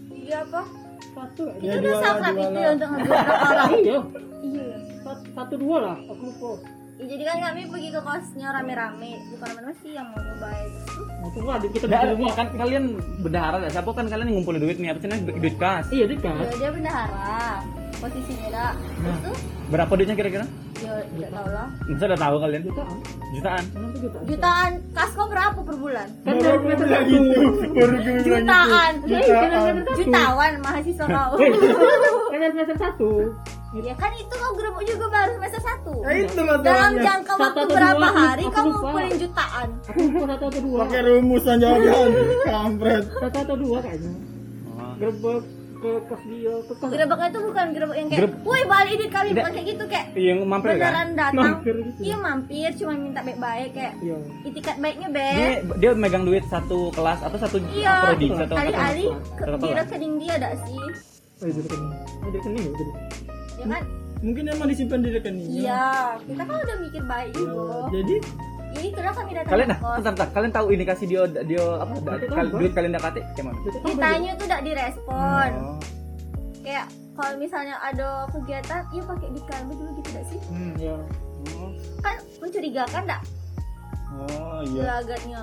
[SPEAKER 2] Iya apa?
[SPEAKER 4] satu kayaknya.
[SPEAKER 3] Ya,
[SPEAKER 2] itu udah
[SPEAKER 3] dua lah,
[SPEAKER 2] saklak
[SPEAKER 3] dua
[SPEAKER 2] itu
[SPEAKER 3] lah.
[SPEAKER 2] ya untuk ngambil orang.
[SPEAKER 4] iya
[SPEAKER 2] Iya.
[SPEAKER 4] satu, satu dua lah aku lupa
[SPEAKER 2] Ya, jadi kan kami pergi ke kosnya rame-rame. Bukan rame-rame sih yang mau baik.
[SPEAKER 4] aku Nah, lah kita
[SPEAKER 1] Nggak,
[SPEAKER 4] di rumah
[SPEAKER 1] kan kalian bendahara dah siapa kan kalian ngumpulin duit nih apa sih namanya? duit kas
[SPEAKER 4] iya dia kan
[SPEAKER 2] Ya dia bendahara. Posisinya dah. Itu
[SPEAKER 1] berapa duitnya kira-kira
[SPEAKER 2] ya nggak tahu lah.
[SPEAKER 1] masa udah tahu kalian
[SPEAKER 4] jutaan
[SPEAKER 1] jutaan
[SPEAKER 4] kenapa jutaan
[SPEAKER 2] Jutaan kasko berapa per bulan?
[SPEAKER 4] kan
[SPEAKER 3] baru
[SPEAKER 4] dari
[SPEAKER 3] aku
[SPEAKER 4] semester
[SPEAKER 3] bilang
[SPEAKER 4] satu
[SPEAKER 3] gitu
[SPEAKER 2] Jutaan.
[SPEAKER 3] baru aku bilang gitu
[SPEAKER 4] Hei, kan dari semester satu
[SPEAKER 2] Jutawan mahasiswa kau.
[SPEAKER 4] Hei, kan dari semester satu
[SPEAKER 2] ya kan itu kau gerebek juga baru semester satu.
[SPEAKER 3] ya itu
[SPEAKER 2] Dalam
[SPEAKER 3] masalahnya
[SPEAKER 2] jangka
[SPEAKER 4] Satu
[SPEAKER 2] waktu
[SPEAKER 4] atau
[SPEAKER 2] berapa
[SPEAKER 4] dua, aku-
[SPEAKER 2] hari
[SPEAKER 4] aku
[SPEAKER 2] kau
[SPEAKER 4] lupa.
[SPEAKER 2] ngumpulin jutaan?
[SPEAKER 4] aku lupa satu atau dua
[SPEAKER 3] pakai rumusan jawaban kampret
[SPEAKER 4] satu atau dua kayaknya
[SPEAKER 1] Oh.
[SPEAKER 4] gerbek ke kos dia kan? ke kos
[SPEAKER 2] gerobaknya itu bukan gerobak yang kayak
[SPEAKER 1] Gerb-
[SPEAKER 2] woi balik duit kami
[SPEAKER 1] Nggak.
[SPEAKER 2] bukan kayak gitu kayak
[SPEAKER 1] Iya, mampir kan?
[SPEAKER 2] beneran datang
[SPEAKER 4] Mampir gitu.
[SPEAKER 2] iya mampir cuma minta baik-baik kayak
[SPEAKER 4] iya
[SPEAKER 2] itikat baiknya beb
[SPEAKER 1] Dia, dia megang duit satu kelas atau satu
[SPEAKER 2] iya
[SPEAKER 1] prodi satu
[SPEAKER 2] kali-kali ke-
[SPEAKER 1] satu
[SPEAKER 2] di
[SPEAKER 1] kelas.
[SPEAKER 2] rekening dia ada sih
[SPEAKER 4] oh itu rekening oh itu rekening ya itu
[SPEAKER 2] ya kan
[SPEAKER 1] Hmm.
[SPEAKER 3] Mungkin emang disimpan di rekeningnya.
[SPEAKER 2] iya kita kan udah mikir baik
[SPEAKER 3] Nah,
[SPEAKER 2] loh
[SPEAKER 3] jadi
[SPEAKER 2] ini itulah kami datang
[SPEAKER 1] Iya. Kalian
[SPEAKER 2] ke
[SPEAKER 1] nah,
[SPEAKER 2] kos
[SPEAKER 1] bentar, bentar. kalian tahu indikasi dia dia apa? da-
[SPEAKER 4] Itu kan,
[SPEAKER 1] kal-
[SPEAKER 4] Bang.
[SPEAKER 1] duit kalian dakati gimana?
[SPEAKER 4] Itu kan
[SPEAKER 2] ditanya tuh tidak direspon
[SPEAKER 1] Oh.
[SPEAKER 2] kayak kalau misalnya ada kegiatan iya pakai di kalbu dulu gitu gak sih
[SPEAKER 4] hmm ya
[SPEAKER 1] Oh.
[SPEAKER 2] kan mencurigakan gak
[SPEAKER 1] Iya. Oh iya.
[SPEAKER 2] gelagatnya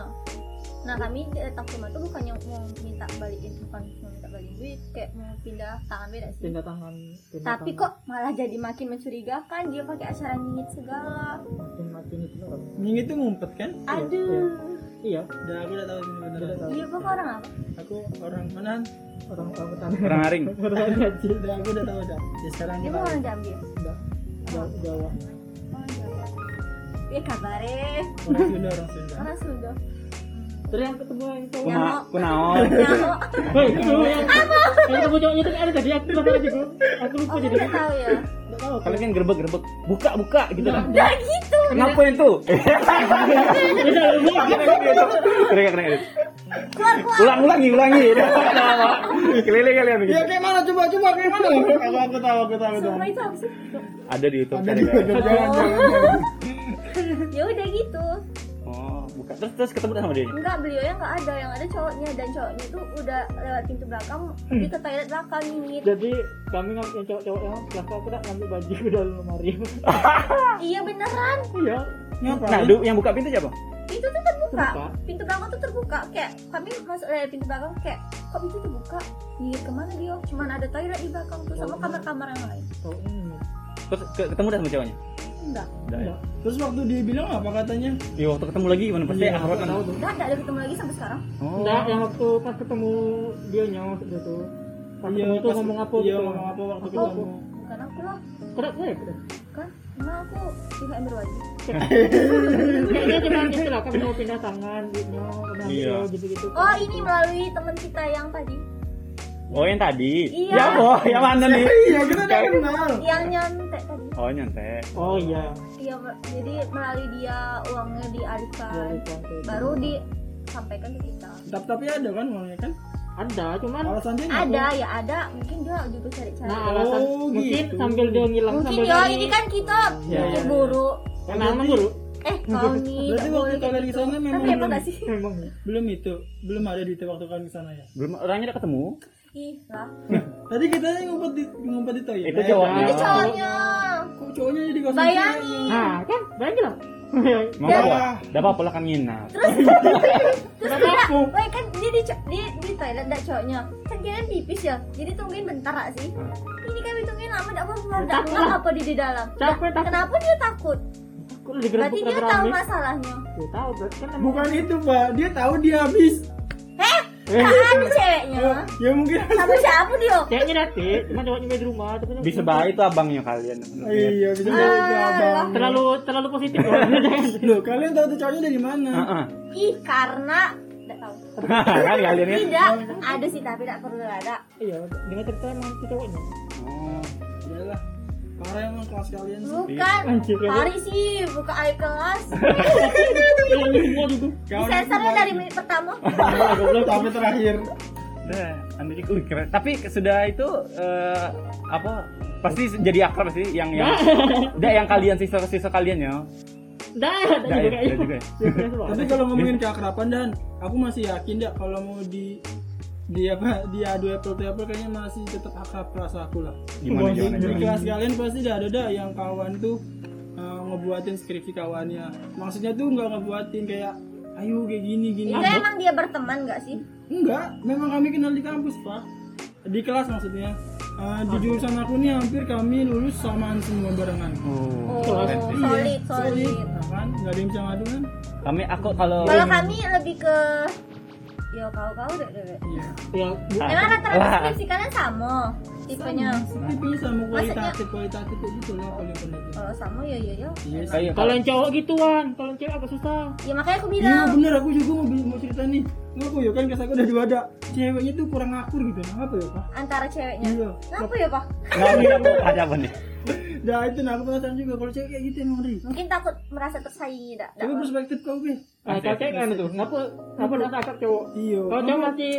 [SPEAKER 2] nah kami datang ke rumah tuh bukannya mau minta balikin bukan mau minta balikin duit kayak mau pindah tangan beda sih
[SPEAKER 4] pindah tangan pindah
[SPEAKER 2] tapi
[SPEAKER 4] tangan.
[SPEAKER 2] kok malah jadi makin mencurigakan dia pakai acara nyingit segala
[SPEAKER 4] makin makin itu loh.
[SPEAKER 3] Ning itu ngumpet kan?
[SPEAKER 4] iya.
[SPEAKER 2] aduh
[SPEAKER 4] iya
[SPEAKER 3] Dah aku udah tahu ini
[SPEAKER 4] Udah
[SPEAKER 3] beneran.
[SPEAKER 4] tahu.
[SPEAKER 2] dia kok orang apa
[SPEAKER 3] Aku orang mana?
[SPEAKER 4] orang orang petani
[SPEAKER 1] Orang aring.
[SPEAKER 3] [laughs]
[SPEAKER 4] orang gaji
[SPEAKER 3] Dah aku udah tahu dah. Ya sekarang
[SPEAKER 2] dia
[SPEAKER 3] kita
[SPEAKER 2] bukan orang Jambi ya
[SPEAKER 4] Enggak. Jawa Jawa
[SPEAKER 2] orang Jawa ya kabarin
[SPEAKER 3] orang Sunda orang Sunda.
[SPEAKER 2] orang Sunda
[SPEAKER 4] terus yang ketemu yang cowok
[SPEAKER 2] Ya.
[SPEAKER 1] Kuna,
[SPEAKER 4] Oh,
[SPEAKER 2] [laughs]
[SPEAKER 1] kunaon?
[SPEAKER 4] iya.
[SPEAKER 2] Nyaho.
[SPEAKER 4] Woi, itu dulu yang yang ketemu cowok itu kan ada tadi aku lupa aja gua. Aku lupa
[SPEAKER 2] oh
[SPEAKER 4] jadi. gitu?
[SPEAKER 2] nggak tahu ya
[SPEAKER 4] Enggak tahu.
[SPEAKER 1] Kalian kan gerbek-gerbek, buka-buka gitu kan.
[SPEAKER 2] nah gitu
[SPEAKER 1] Kenapa itu?
[SPEAKER 2] [laughs]
[SPEAKER 1] Keren keren.
[SPEAKER 2] keluar keluar
[SPEAKER 1] Ulang ulangi ulangi.
[SPEAKER 2] [laughs]
[SPEAKER 1] Keliling kalian begitu.
[SPEAKER 3] Ya
[SPEAKER 2] Iya.
[SPEAKER 3] kayak mana coba coba kayak [laughs] mana? Aku aku tahu aku tahu aku tahu.
[SPEAKER 2] semua itu apa sih
[SPEAKER 1] Ada di YouTube
[SPEAKER 3] Ada
[SPEAKER 1] cari
[SPEAKER 3] di-
[SPEAKER 1] guys.
[SPEAKER 3] ada- ada- ada- ada.
[SPEAKER 2] ya udah gitu
[SPEAKER 1] Oh, buka. Terus terus ketemu sama dia.
[SPEAKER 2] enggak beliau yang nggak ada yang ada cowoknya dan cowoknya itu udah lewat pintu belakang pergi ke toilet belakang nyingit
[SPEAKER 4] Jadi kami ngam- yang cowok-cowok yang kelas aku tak ngambil baju ke dalam lemari.
[SPEAKER 2] iya beneran
[SPEAKER 4] Iya.
[SPEAKER 3] Oh, Ngapain?
[SPEAKER 1] Nah, du- yang buka pintu siapa?
[SPEAKER 2] pintu tuh terbuka
[SPEAKER 4] Terbuka.
[SPEAKER 2] pintu belakang tuh terbuka kayak kami masuk dari pintu belakang kayak kok pintu terbuka nyingit kemana dia cuman ada toilet di belakang tuh
[SPEAKER 4] Oh.
[SPEAKER 2] sama kamar-kamar yang lain
[SPEAKER 3] Oh,
[SPEAKER 4] Cowok ini.
[SPEAKER 1] Terus ke- ketemu dah sama ceweknya.
[SPEAKER 2] enggak
[SPEAKER 1] Udah, ya.
[SPEAKER 3] Terus waktu dia bilang apa katanya?
[SPEAKER 1] Iya, waktu ketemu lagi gimana pasti
[SPEAKER 4] Aku
[SPEAKER 1] akrab
[SPEAKER 4] nggak
[SPEAKER 1] kan.
[SPEAKER 4] tahu tuh.
[SPEAKER 2] enggak enggak ada ketemu lagi sampai sekarang
[SPEAKER 1] Oh.
[SPEAKER 4] Enggak, yang waktu pas ketemu dia nyawa gitu tuh. Pas ketemu tuh
[SPEAKER 3] pas-
[SPEAKER 4] ngomong apa
[SPEAKER 3] Iya
[SPEAKER 4] gitu.
[SPEAKER 3] ngomong apa
[SPEAKER 2] Oh.
[SPEAKER 3] waktu ketemu? [laughs]
[SPEAKER 2] bukan aku lah
[SPEAKER 4] Kedap saya. kedap.
[SPEAKER 2] kan emang aku juga yang
[SPEAKER 4] [laughs]
[SPEAKER 2] berwajib
[SPEAKER 4] Kayaknya cuma gitu lah, kamu mau pindah tangan gitu. kenapa,
[SPEAKER 1] Iya.
[SPEAKER 4] Gitu-gitu.
[SPEAKER 2] oh ini melalui teman kita yang tadi
[SPEAKER 1] Oh, yang tadi.
[SPEAKER 2] Iya.
[SPEAKER 1] Ya, boh, yang mana nih?
[SPEAKER 3] [laughs] Iya kita udah kenal.
[SPEAKER 2] yang nyantet tadi
[SPEAKER 1] Oh, nyantai.
[SPEAKER 4] Oh iya.
[SPEAKER 2] iya me- jadi melalui dia uangnya dialihkan
[SPEAKER 4] Dari konten.
[SPEAKER 2] baru disampaikan ke kita
[SPEAKER 3] Tapi tapi ada kan orangnya kan?
[SPEAKER 4] Ada, cuman
[SPEAKER 3] Alasan dia nggak
[SPEAKER 2] ada ya ada mungkin dia juga cari-cari
[SPEAKER 4] nah alasan
[SPEAKER 3] Oh,
[SPEAKER 4] mungkin
[SPEAKER 3] gitu.
[SPEAKER 4] sambil dia ngilang
[SPEAKER 2] mungkin
[SPEAKER 4] sambil
[SPEAKER 2] ya
[SPEAKER 4] dia-
[SPEAKER 2] ini kan kita
[SPEAKER 4] Ya, ya, ya.
[SPEAKER 2] buru
[SPEAKER 4] Karena aman dulu.
[SPEAKER 2] eh kau nih
[SPEAKER 3] Berarti
[SPEAKER 2] tak
[SPEAKER 3] waktu
[SPEAKER 2] boleh kayak
[SPEAKER 3] kalian di
[SPEAKER 2] gitu.
[SPEAKER 3] sana memang
[SPEAKER 2] tapi emang
[SPEAKER 3] belum-
[SPEAKER 2] gak sih
[SPEAKER 4] Memang.
[SPEAKER 3] belum itu belum ada di waktu kalian ke sana ya
[SPEAKER 1] Belum orangnya udah ketemu.
[SPEAKER 2] ih lah
[SPEAKER 3] tadi katanya ngumpet di ngumpet di toilet
[SPEAKER 1] Itu cowoknya.
[SPEAKER 2] itu
[SPEAKER 1] Ah.
[SPEAKER 2] cowoknya
[SPEAKER 3] ya? kok cowoknya jadi kosong
[SPEAKER 2] bayangin
[SPEAKER 4] Nah, kan banyak
[SPEAKER 2] [laughs]
[SPEAKER 4] lah.
[SPEAKER 1] Mau apa?
[SPEAKER 3] Ya.
[SPEAKER 1] Dah apa lah kan nginap.
[SPEAKER 2] terus
[SPEAKER 4] Kenapa
[SPEAKER 2] dia
[SPEAKER 4] aku?
[SPEAKER 2] weh kan dia di, co- di, di toilet dak cowoknya kan kalian pipis ya jadi tungguin bentar gak sih ini kami tungguin lama dak mau keluar dak
[SPEAKER 4] Takut
[SPEAKER 2] ngap
[SPEAKER 4] lah.
[SPEAKER 2] apa di di dalam
[SPEAKER 4] Capek takut.
[SPEAKER 2] kenapa dia takut
[SPEAKER 4] Aku udah digerebek
[SPEAKER 2] berarti dia
[SPEAKER 4] rame-rame.
[SPEAKER 2] tahu masalahnya
[SPEAKER 4] Dia tahu berarti kan emang-
[SPEAKER 3] bukan itu pak dia tahu dia habis
[SPEAKER 2] eh tak ada ceweknya
[SPEAKER 3] ya mungkin
[SPEAKER 2] sama siapa dia
[SPEAKER 4] Kayaknya nanti, cuma cowoknya main di rumah. tapi kan-
[SPEAKER 1] Bisa bahaya itu abangnya ya, kalian.
[SPEAKER 3] iya bisa
[SPEAKER 2] Ah,
[SPEAKER 3] jadi abang
[SPEAKER 4] Terlalu terlalu positif
[SPEAKER 2] [laughs]
[SPEAKER 4] orang.
[SPEAKER 3] loh kalian tahu tuh cowoknya dari mana
[SPEAKER 1] Heeh. [laughs]
[SPEAKER 2] ih karena tidak tahu
[SPEAKER 1] Kan kalian ya.
[SPEAKER 2] tidak ada sih tapi tidak perlu ada
[SPEAKER 4] Iya, dengan cerita emang itu cowoknya.
[SPEAKER 1] Oh.
[SPEAKER 3] iyalah parah emang kelas kalian sih
[SPEAKER 2] bukan
[SPEAKER 4] Anjir, ya.
[SPEAKER 2] hari sih buka air
[SPEAKER 3] [laughs]
[SPEAKER 2] kelas
[SPEAKER 4] Iya, ini semua gitu.
[SPEAKER 3] Kau-
[SPEAKER 2] sensornya dari menit pertama
[SPEAKER 3] sampai terakhir
[SPEAKER 1] Nah, Andri uh, keren. Tapi sudah itu eh, apa pasti jadi akrab sih yang yang Nggak, yang kalian siswa-siswa kalian ya.
[SPEAKER 4] Dah, ada
[SPEAKER 1] Dah, ya,
[SPEAKER 4] juga kayak
[SPEAKER 1] ada
[SPEAKER 4] itu.
[SPEAKER 1] juga ya.
[SPEAKER 3] tapi kalau ngomongin keakraban dan aku masih yakin dak kalau mau di di apa di adu apple to apple kayaknya masih tetap akrab kelas aku lah
[SPEAKER 1] Gimana gimana
[SPEAKER 3] Di- di
[SPEAKER 1] gimana.
[SPEAKER 3] kelas kalian pasti udah ada dah yang kawan tuh uh, ngebuatin skripsi kawannya maksudnya tuh nggak ngebuatin kayak ayo kayak gini gini
[SPEAKER 2] itu emang dia berteman gak sih
[SPEAKER 3] enggak memang kami kenal di kampus pak di kelas maksudnya Uh, di jurusan aku nih hampir kami lulus samaan semua barengan
[SPEAKER 1] Oh.
[SPEAKER 2] oh solid
[SPEAKER 3] Jadi,
[SPEAKER 2] solid
[SPEAKER 3] nah kan nggak ada yang bisa ngadu kan
[SPEAKER 1] Kami aku kalau
[SPEAKER 3] Oh.
[SPEAKER 2] kalau kami lebih ke ya kau kau deh deh
[SPEAKER 3] iya
[SPEAKER 4] Ya, bu-
[SPEAKER 1] Ah,
[SPEAKER 2] emang rata-rata
[SPEAKER 1] lah.
[SPEAKER 2] skripsi kalian sama tipenya
[SPEAKER 3] Sama, tipenya sama kualitatif
[SPEAKER 2] Maksudnya-
[SPEAKER 3] kualitatif kayak gitu lah paling benar
[SPEAKER 2] kalau sama ya ya ya
[SPEAKER 3] iya sih.
[SPEAKER 1] Kayak
[SPEAKER 4] kalau yang cowok gituan, kalau yang cewek agak susah.
[SPEAKER 2] ya makanya aku
[SPEAKER 3] iya
[SPEAKER 2] bilang
[SPEAKER 3] bener aku juga mau mau cerita nih ngaku ya kan kelas aku udah dua ada ceweknya tuh kurang akur gitu nah apa ya pak
[SPEAKER 2] antara ceweknya
[SPEAKER 3] iya
[SPEAKER 2] kenapa ya pak
[SPEAKER 1] nggak bilang ada apa nih
[SPEAKER 3] nah itu nah aku penasaran juga kalau cewek kayak gitu emang Ri
[SPEAKER 2] mungkin takut merasa tersaingi dak
[SPEAKER 3] tapi perspektif kau be
[SPEAKER 1] Ah,
[SPEAKER 4] Nah, kalau cewek kan itu, kenapa kenapa udah kakak cowok?
[SPEAKER 3] iya
[SPEAKER 2] Oh.
[SPEAKER 4] Kalau cowok masih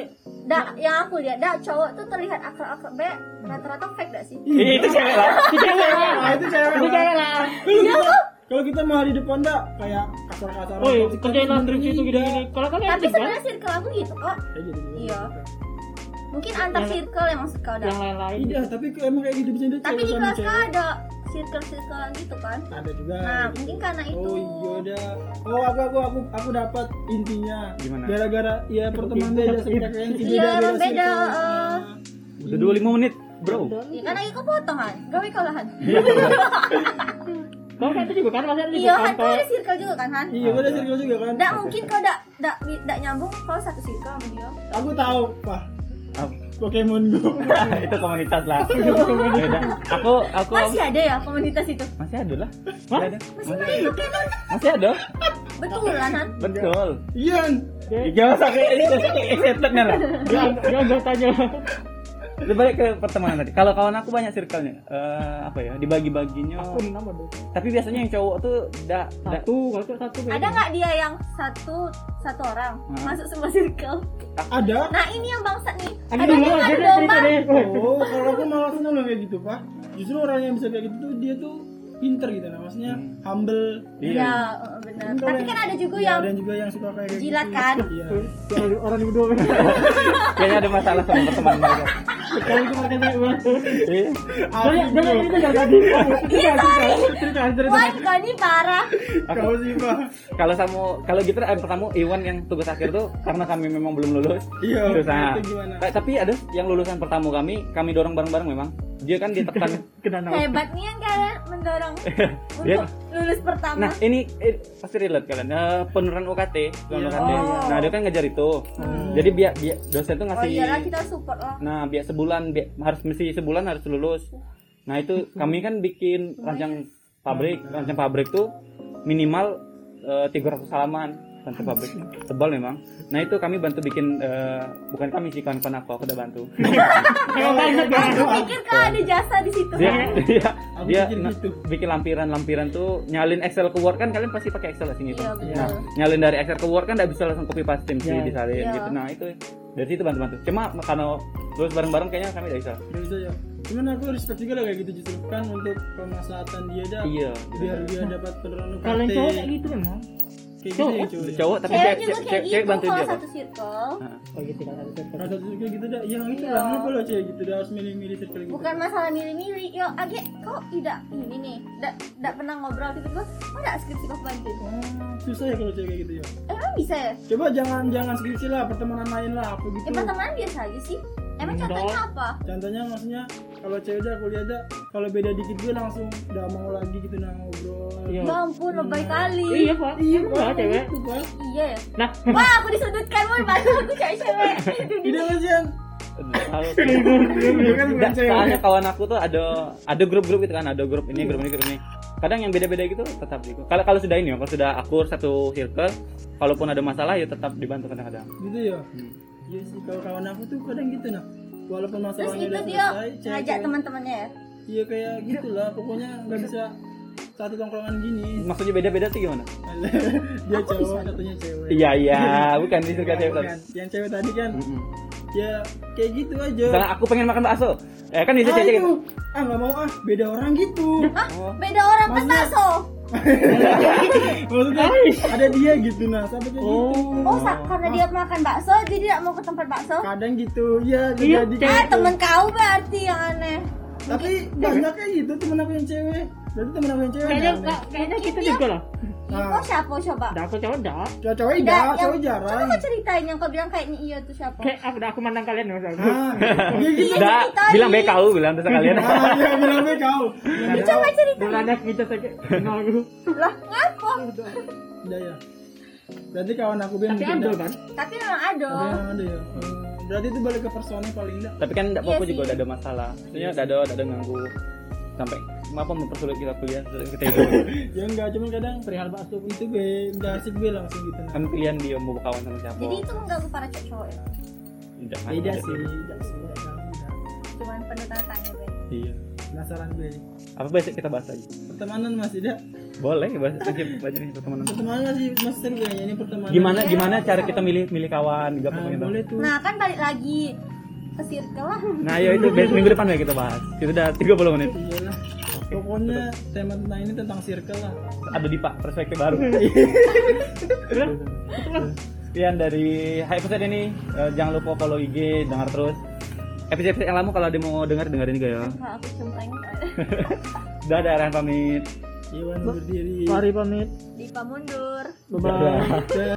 [SPEAKER 2] dak yang aku lihat dak cowok tuh terlihat akrab-akrab be rata-rata fake dak sih
[SPEAKER 1] Ih, itu cewek lah
[SPEAKER 4] si cewek lah,
[SPEAKER 3] Iya. nah itu cewek
[SPEAKER 4] si
[SPEAKER 3] lah.
[SPEAKER 4] cewek lah.
[SPEAKER 2] Iya,
[SPEAKER 3] kalau kita kalau kita mau di depan dak kayak kasar-kasar
[SPEAKER 4] Woi, kerjain lah terus itu gini gini. Kalau kalian
[SPEAKER 2] tapi
[SPEAKER 4] aktif kan,
[SPEAKER 2] sebenarnya circle aku gitu kok Iya.
[SPEAKER 3] iya
[SPEAKER 2] mungkin antar
[SPEAKER 4] Yang-
[SPEAKER 2] circle emang suka dak
[SPEAKER 4] yang lain-lain.
[SPEAKER 2] Iya.
[SPEAKER 3] tidak Iya, tapi emang kayak gitu bisa ada
[SPEAKER 2] tapi
[SPEAKER 3] cewek
[SPEAKER 2] di
[SPEAKER 3] sama
[SPEAKER 2] kelas
[SPEAKER 3] cewek.
[SPEAKER 2] kau ada circle-circle gitu kan
[SPEAKER 3] ada juga gitu.
[SPEAKER 2] nah mungkin karena itu
[SPEAKER 3] Oh iya udah. Oh aku aku aku aku dapat intinya.
[SPEAKER 1] Gimana?
[SPEAKER 3] Gara-gara ya pertemanan beda sekalian
[SPEAKER 2] Iya, orang beda, eh.
[SPEAKER 1] udah 25 menit bro
[SPEAKER 2] ya, karena itu potongan gawe kau lahan
[SPEAKER 4] Kalau kayak itu juga kan masih
[SPEAKER 2] iya
[SPEAKER 4] juga
[SPEAKER 2] kan
[SPEAKER 4] kan
[SPEAKER 2] kau
[SPEAKER 4] kalau
[SPEAKER 2] ada circle juga kan han
[SPEAKER 3] Iya, udah serius juga kan.
[SPEAKER 2] dak mungkin kau dak dak dak nyambung kalau satu circle sama dia
[SPEAKER 3] Aku tahu, Pak.
[SPEAKER 1] Apa?
[SPEAKER 3] Pokemon Go.
[SPEAKER 1] [laughs] itu komunitas lah Beda. aku aku
[SPEAKER 2] masih ada ya komunitas itu
[SPEAKER 1] masih ada lah
[SPEAKER 4] Hah?
[SPEAKER 1] Ada.
[SPEAKER 2] masih main oke kan
[SPEAKER 1] masih ada
[SPEAKER 2] betul kan han
[SPEAKER 1] betul Ya,
[SPEAKER 3] Iya.
[SPEAKER 1] jangan sampai ini udah sampai excitednya lah
[SPEAKER 2] Iya.
[SPEAKER 4] jangan jangan jangan tanya.
[SPEAKER 1] Kita balik ke pertemanan tadi kalau kawan aku banyak circle-nya Eh, apa ya dibagi-baginya
[SPEAKER 4] Aku enam ada.
[SPEAKER 1] tapi biasanya yang cowok tuh da, da
[SPEAKER 4] Satu, kalau cowok satu
[SPEAKER 2] ada nggak dia yang satu satu orang
[SPEAKER 1] Hmm.
[SPEAKER 2] masuk semua circle
[SPEAKER 3] Ada.
[SPEAKER 2] nah ini yang bangsat nih
[SPEAKER 4] Aku
[SPEAKER 2] ada yang
[SPEAKER 4] dulu aja
[SPEAKER 2] ngadu
[SPEAKER 4] deh
[SPEAKER 2] domba
[SPEAKER 4] cerita deh.
[SPEAKER 3] Oh, kalau aku malah seneng loh kayak gitu, Pak. Justru orang yang bisa kayak gitu tuh dia tuh pinter gitu nah, maksudnya
[SPEAKER 1] Hmm.
[SPEAKER 3] humble.
[SPEAKER 2] ya
[SPEAKER 1] Iya.
[SPEAKER 2] eh, benar
[SPEAKER 3] Mungkin
[SPEAKER 2] tapi
[SPEAKER 3] kalau
[SPEAKER 2] kan ada juga
[SPEAKER 3] Ya,
[SPEAKER 2] yang
[SPEAKER 3] dan juga yang suka kayak gitu.
[SPEAKER 2] jilat kan
[SPEAKER 3] Iya.
[SPEAKER 4] Orang- Orang dua belas.
[SPEAKER 1] kayaknya ada masalah sama pertemanan mereka
[SPEAKER 3] [laughs]
[SPEAKER 4] Kalau itu pakai cewek banget.
[SPEAKER 1] Iya.
[SPEAKER 4] Jangan
[SPEAKER 3] Aku
[SPEAKER 4] jangan itu jangan tadi. Iya, cerita cerita.
[SPEAKER 2] wah kau ini parah
[SPEAKER 3] kau sih, Pak.
[SPEAKER 1] kalau sama kalau gitu yang pertama Iwan yang tugas akhir tuh karena kami memang belum lulus
[SPEAKER 3] Iya.
[SPEAKER 1] terus nah,
[SPEAKER 3] itu gimana?
[SPEAKER 1] ta- tapi ada yang lulusan pertama kami kami dorong bareng-bareng memang dia kan
[SPEAKER 3] [laughs]
[SPEAKER 1] ditekan
[SPEAKER 4] Ke danau.
[SPEAKER 2] hebat nih yang kalian mendorong
[SPEAKER 1] Eh, Dia-
[SPEAKER 2] untuk lulus pertama
[SPEAKER 1] nah ini eh, pasti relate kalian Eh, penurunan UKT penurunan
[SPEAKER 3] Iya.
[SPEAKER 1] UKT nah dia kan ngajar itu jadi biar biar dosen tuh
[SPEAKER 2] Hmm. oh
[SPEAKER 1] ngasih
[SPEAKER 2] iyalah kita support lah
[SPEAKER 1] nah biar sebulan biar, harus mesti sebulan harus lulus nah itu kami kan bikin ranjang pabrik ranjang pabrik tuh minimal eh, 300 halaman ranjang pabrik tebal memang nah itu kami bantu bikin eh, bukan kami sih kawan-kawan aku aku udah bantu
[SPEAKER 4] Emang banget ya.
[SPEAKER 2] aku pikir kau ada jasa di situ
[SPEAKER 1] dia dia,
[SPEAKER 3] Aku
[SPEAKER 1] dia
[SPEAKER 3] pikir
[SPEAKER 1] na-
[SPEAKER 3] gitu.
[SPEAKER 1] bikin lampiran-lampiran tuh nyalin Excel ke Word kan kalian pasti pakai Excel lah sini
[SPEAKER 2] Iya,
[SPEAKER 1] tuh.
[SPEAKER 2] betul.
[SPEAKER 1] Nah, nyalin dari Excel ke Word kan nggak bisa langsung copy paste mesti
[SPEAKER 4] Iya.
[SPEAKER 1] disalin
[SPEAKER 2] Iya.
[SPEAKER 1] gitu. Nah, itu dari situ bantu-bantu. Cuma karena lulus bareng-bareng kayaknya kami nggak bisa.
[SPEAKER 3] Gak bisa ya. Cuman aku respect juga lah kayak gitu justru kan untuk kemaslahatan dia dah.
[SPEAKER 1] Iya.
[SPEAKER 3] Biar dia dapat penurunan UKT.
[SPEAKER 4] Kalau yang cowok kayak gitu memang.
[SPEAKER 3] Kayak gitu ya
[SPEAKER 1] Ada
[SPEAKER 3] cowok. ya.
[SPEAKER 1] cowok tapi
[SPEAKER 2] cewek
[SPEAKER 1] cewek
[SPEAKER 2] juga
[SPEAKER 1] cewek-
[SPEAKER 2] kayak
[SPEAKER 1] cewek
[SPEAKER 2] gitu
[SPEAKER 1] bantu dia
[SPEAKER 2] kalau
[SPEAKER 1] Pak.
[SPEAKER 2] satu circle
[SPEAKER 1] Nah,
[SPEAKER 4] Oh gitu kan ada cerita.
[SPEAKER 3] Rasa tuh kayak gitu dah. Yang itu
[SPEAKER 2] Iya.
[SPEAKER 3] lah kenapa lo cewek gitu dah harus milih-milih circle gitu.
[SPEAKER 2] bukan masalah milih-milih yo age kok tidak ini nih tidak tidak pernah ngobrol tiba-tiba kok tidak skripsi kau bantu
[SPEAKER 3] Oh, susah ya kalau cewek kayak gitu ya.
[SPEAKER 2] Eh, emang bisa ya
[SPEAKER 3] Coba jangan jangan skripsi lah, pertemanan lain lah apa gitu.
[SPEAKER 2] ya pertemanan biasa aja sih emang
[SPEAKER 4] Enggak.
[SPEAKER 2] contohnya apa
[SPEAKER 3] Contohnya maksudnya kalau cewek dah kuliah dah kalau beda dikit gue langsung udah mau lagi gitu nah ngobrol.
[SPEAKER 4] Iya.
[SPEAKER 2] ya ampun lebay kali
[SPEAKER 4] Iya pak. Iya pak cewek.
[SPEAKER 3] Itu kan.
[SPEAKER 2] iya ya
[SPEAKER 4] Nah,
[SPEAKER 2] wah aku disudutkan mau bantu aku cewek-cewek
[SPEAKER 3] Tidak kan sih?
[SPEAKER 1] kalau- Nggak, soalnya kawan aku tuh ada ada grup-grup gitu kan, ada grup ini, grup ini, grup ini. Kadang yang beda-beda gitu tetap gitu. Kalau kalau sudah ini ya, kalau sudah akur satu circle, kalaupun ada masalah ya tetap dibantu kadang-kadang. Hmm.
[SPEAKER 3] Gitu ya. Iya sih kalau kawan aku tuh kadang gitu nah. Walaupun
[SPEAKER 2] terus
[SPEAKER 3] masalahnya
[SPEAKER 2] itu
[SPEAKER 3] udah
[SPEAKER 2] dia
[SPEAKER 3] selesai,
[SPEAKER 2] ngajak
[SPEAKER 3] cewek-
[SPEAKER 2] teman-temannya ya
[SPEAKER 3] Iya kayak gitulah, pokoknya nggak bisa satu tongkrongan gini. [laughs]
[SPEAKER 1] Maksudnya beda-beda tuh gimana?
[SPEAKER 3] Dia cowok, satunya cewek.
[SPEAKER 1] Iya iya, bukan di
[SPEAKER 3] Bukan,
[SPEAKER 1] circle cewek.
[SPEAKER 3] bukan. Yang cewek tadi kan,
[SPEAKER 1] Mm-mm.
[SPEAKER 3] ya kayak gitu aja.
[SPEAKER 1] Misalnya aku pengen makan bakso. Eh kan bisa
[SPEAKER 3] ah,
[SPEAKER 1] cewek
[SPEAKER 3] itu. ah nggak mau ah, beda orang gitu.
[SPEAKER 2] ah beda orang kan
[SPEAKER 3] Maksudnya-
[SPEAKER 2] bakso
[SPEAKER 3] Maksudnya ada dia gitu nah, sampai kayak gitu.
[SPEAKER 2] oh sa- karena dia makan bakso jadi tidak mau ke tempat bakso
[SPEAKER 3] Kadang gitu, ya
[SPEAKER 4] Iya,
[SPEAKER 3] jadi
[SPEAKER 2] ah
[SPEAKER 3] gitu.
[SPEAKER 2] temen kau berarti yang aneh
[SPEAKER 3] Tapi banyak kayak gitu temen aku yang cewek. Berarti temen aku yang cewek.
[SPEAKER 4] kayaknya
[SPEAKER 3] aneh.
[SPEAKER 4] nggak- kayaknya kita
[SPEAKER 2] Iya.
[SPEAKER 4] juga lah.
[SPEAKER 2] Ih, kok Oh, siapa coba
[SPEAKER 4] Dah aku cowok dah.
[SPEAKER 3] Ya, cowok
[SPEAKER 2] Tidak,
[SPEAKER 3] iya,
[SPEAKER 2] yang-
[SPEAKER 3] cowok
[SPEAKER 2] Coba
[SPEAKER 3] jarang.
[SPEAKER 2] kau ceritain yang kau bilang kayaknya iya tuh siapa?
[SPEAKER 4] Kayak aku dah aku mandang kalian ya.
[SPEAKER 3] Ah, ya gitu.
[SPEAKER 1] Enggak,
[SPEAKER 2] tadi.
[SPEAKER 1] bilang BKU bilang terus kalian.
[SPEAKER 3] [laughs] Ah, ya bilangnya kau. Ya,
[SPEAKER 2] Coba ceritain.
[SPEAKER 4] Bulan ada kita sakit. Kenal aku.
[SPEAKER 2] Lah, ngapa?
[SPEAKER 3] Udah ya. Berarti kawan aku bilang
[SPEAKER 4] Tapi ada kan?
[SPEAKER 2] Tapi memang ada.
[SPEAKER 3] ada ya. Berarti itu balik ke personnya paling enggak.
[SPEAKER 1] Tapi kan enggak apa-apa
[SPEAKER 2] Iya
[SPEAKER 1] juga
[SPEAKER 2] sih.
[SPEAKER 1] udah ada masalah. Maksudnya enggak ada enggak ada ganggu. sampai apa mempersulit kita kuliah terus kita hidup
[SPEAKER 3] ya enggak cuman kadang
[SPEAKER 4] perihal bakso
[SPEAKER 3] itu gue udah asik gue langsung gitu
[SPEAKER 1] kan pilihan dia mau kawan sama siapa
[SPEAKER 2] jadi itu mengganggu para cowok ya
[SPEAKER 1] tidak kan?
[SPEAKER 3] beda sih beda sih beda, beda.
[SPEAKER 2] cuman penuh tanda tanya gue
[SPEAKER 1] iya
[SPEAKER 3] penasaran gue nih.
[SPEAKER 1] apa besok kita bahas lagi
[SPEAKER 3] pertemanan masih tidak
[SPEAKER 1] boleh bahas lagi bahas lagi pertemanan
[SPEAKER 3] pertemanan masih masih seru kayaknya ini pertemanan
[SPEAKER 1] gimana gimana cara kita milih milih kawan gitu. juga
[SPEAKER 3] Nah,
[SPEAKER 1] pokoknya tuh.
[SPEAKER 3] boleh tuh
[SPEAKER 2] nah kan balik lagi ke circle lah
[SPEAKER 1] nah ya itu bes- minggu depan ya kita bahas itu udah 30 menit
[SPEAKER 3] iyalah pokoknya tema tentang ini tentang circle lah
[SPEAKER 1] ada di pak perspektif baru Udah? sekian dari Hai episode ini Eh, jangan lupa follow IG dengar terus episode yang lama kalau ada yang mau dengar dengerin juga ya
[SPEAKER 2] nah, aku [laughs] cempreng
[SPEAKER 1] dadah Rehan pamit
[SPEAKER 3] Iwan berdiri
[SPEAKER 4] mari pamit
[SPEAKER 2] di pamundur
[SPEAKER 4] bye bye
[SPEAKER 3] Dah.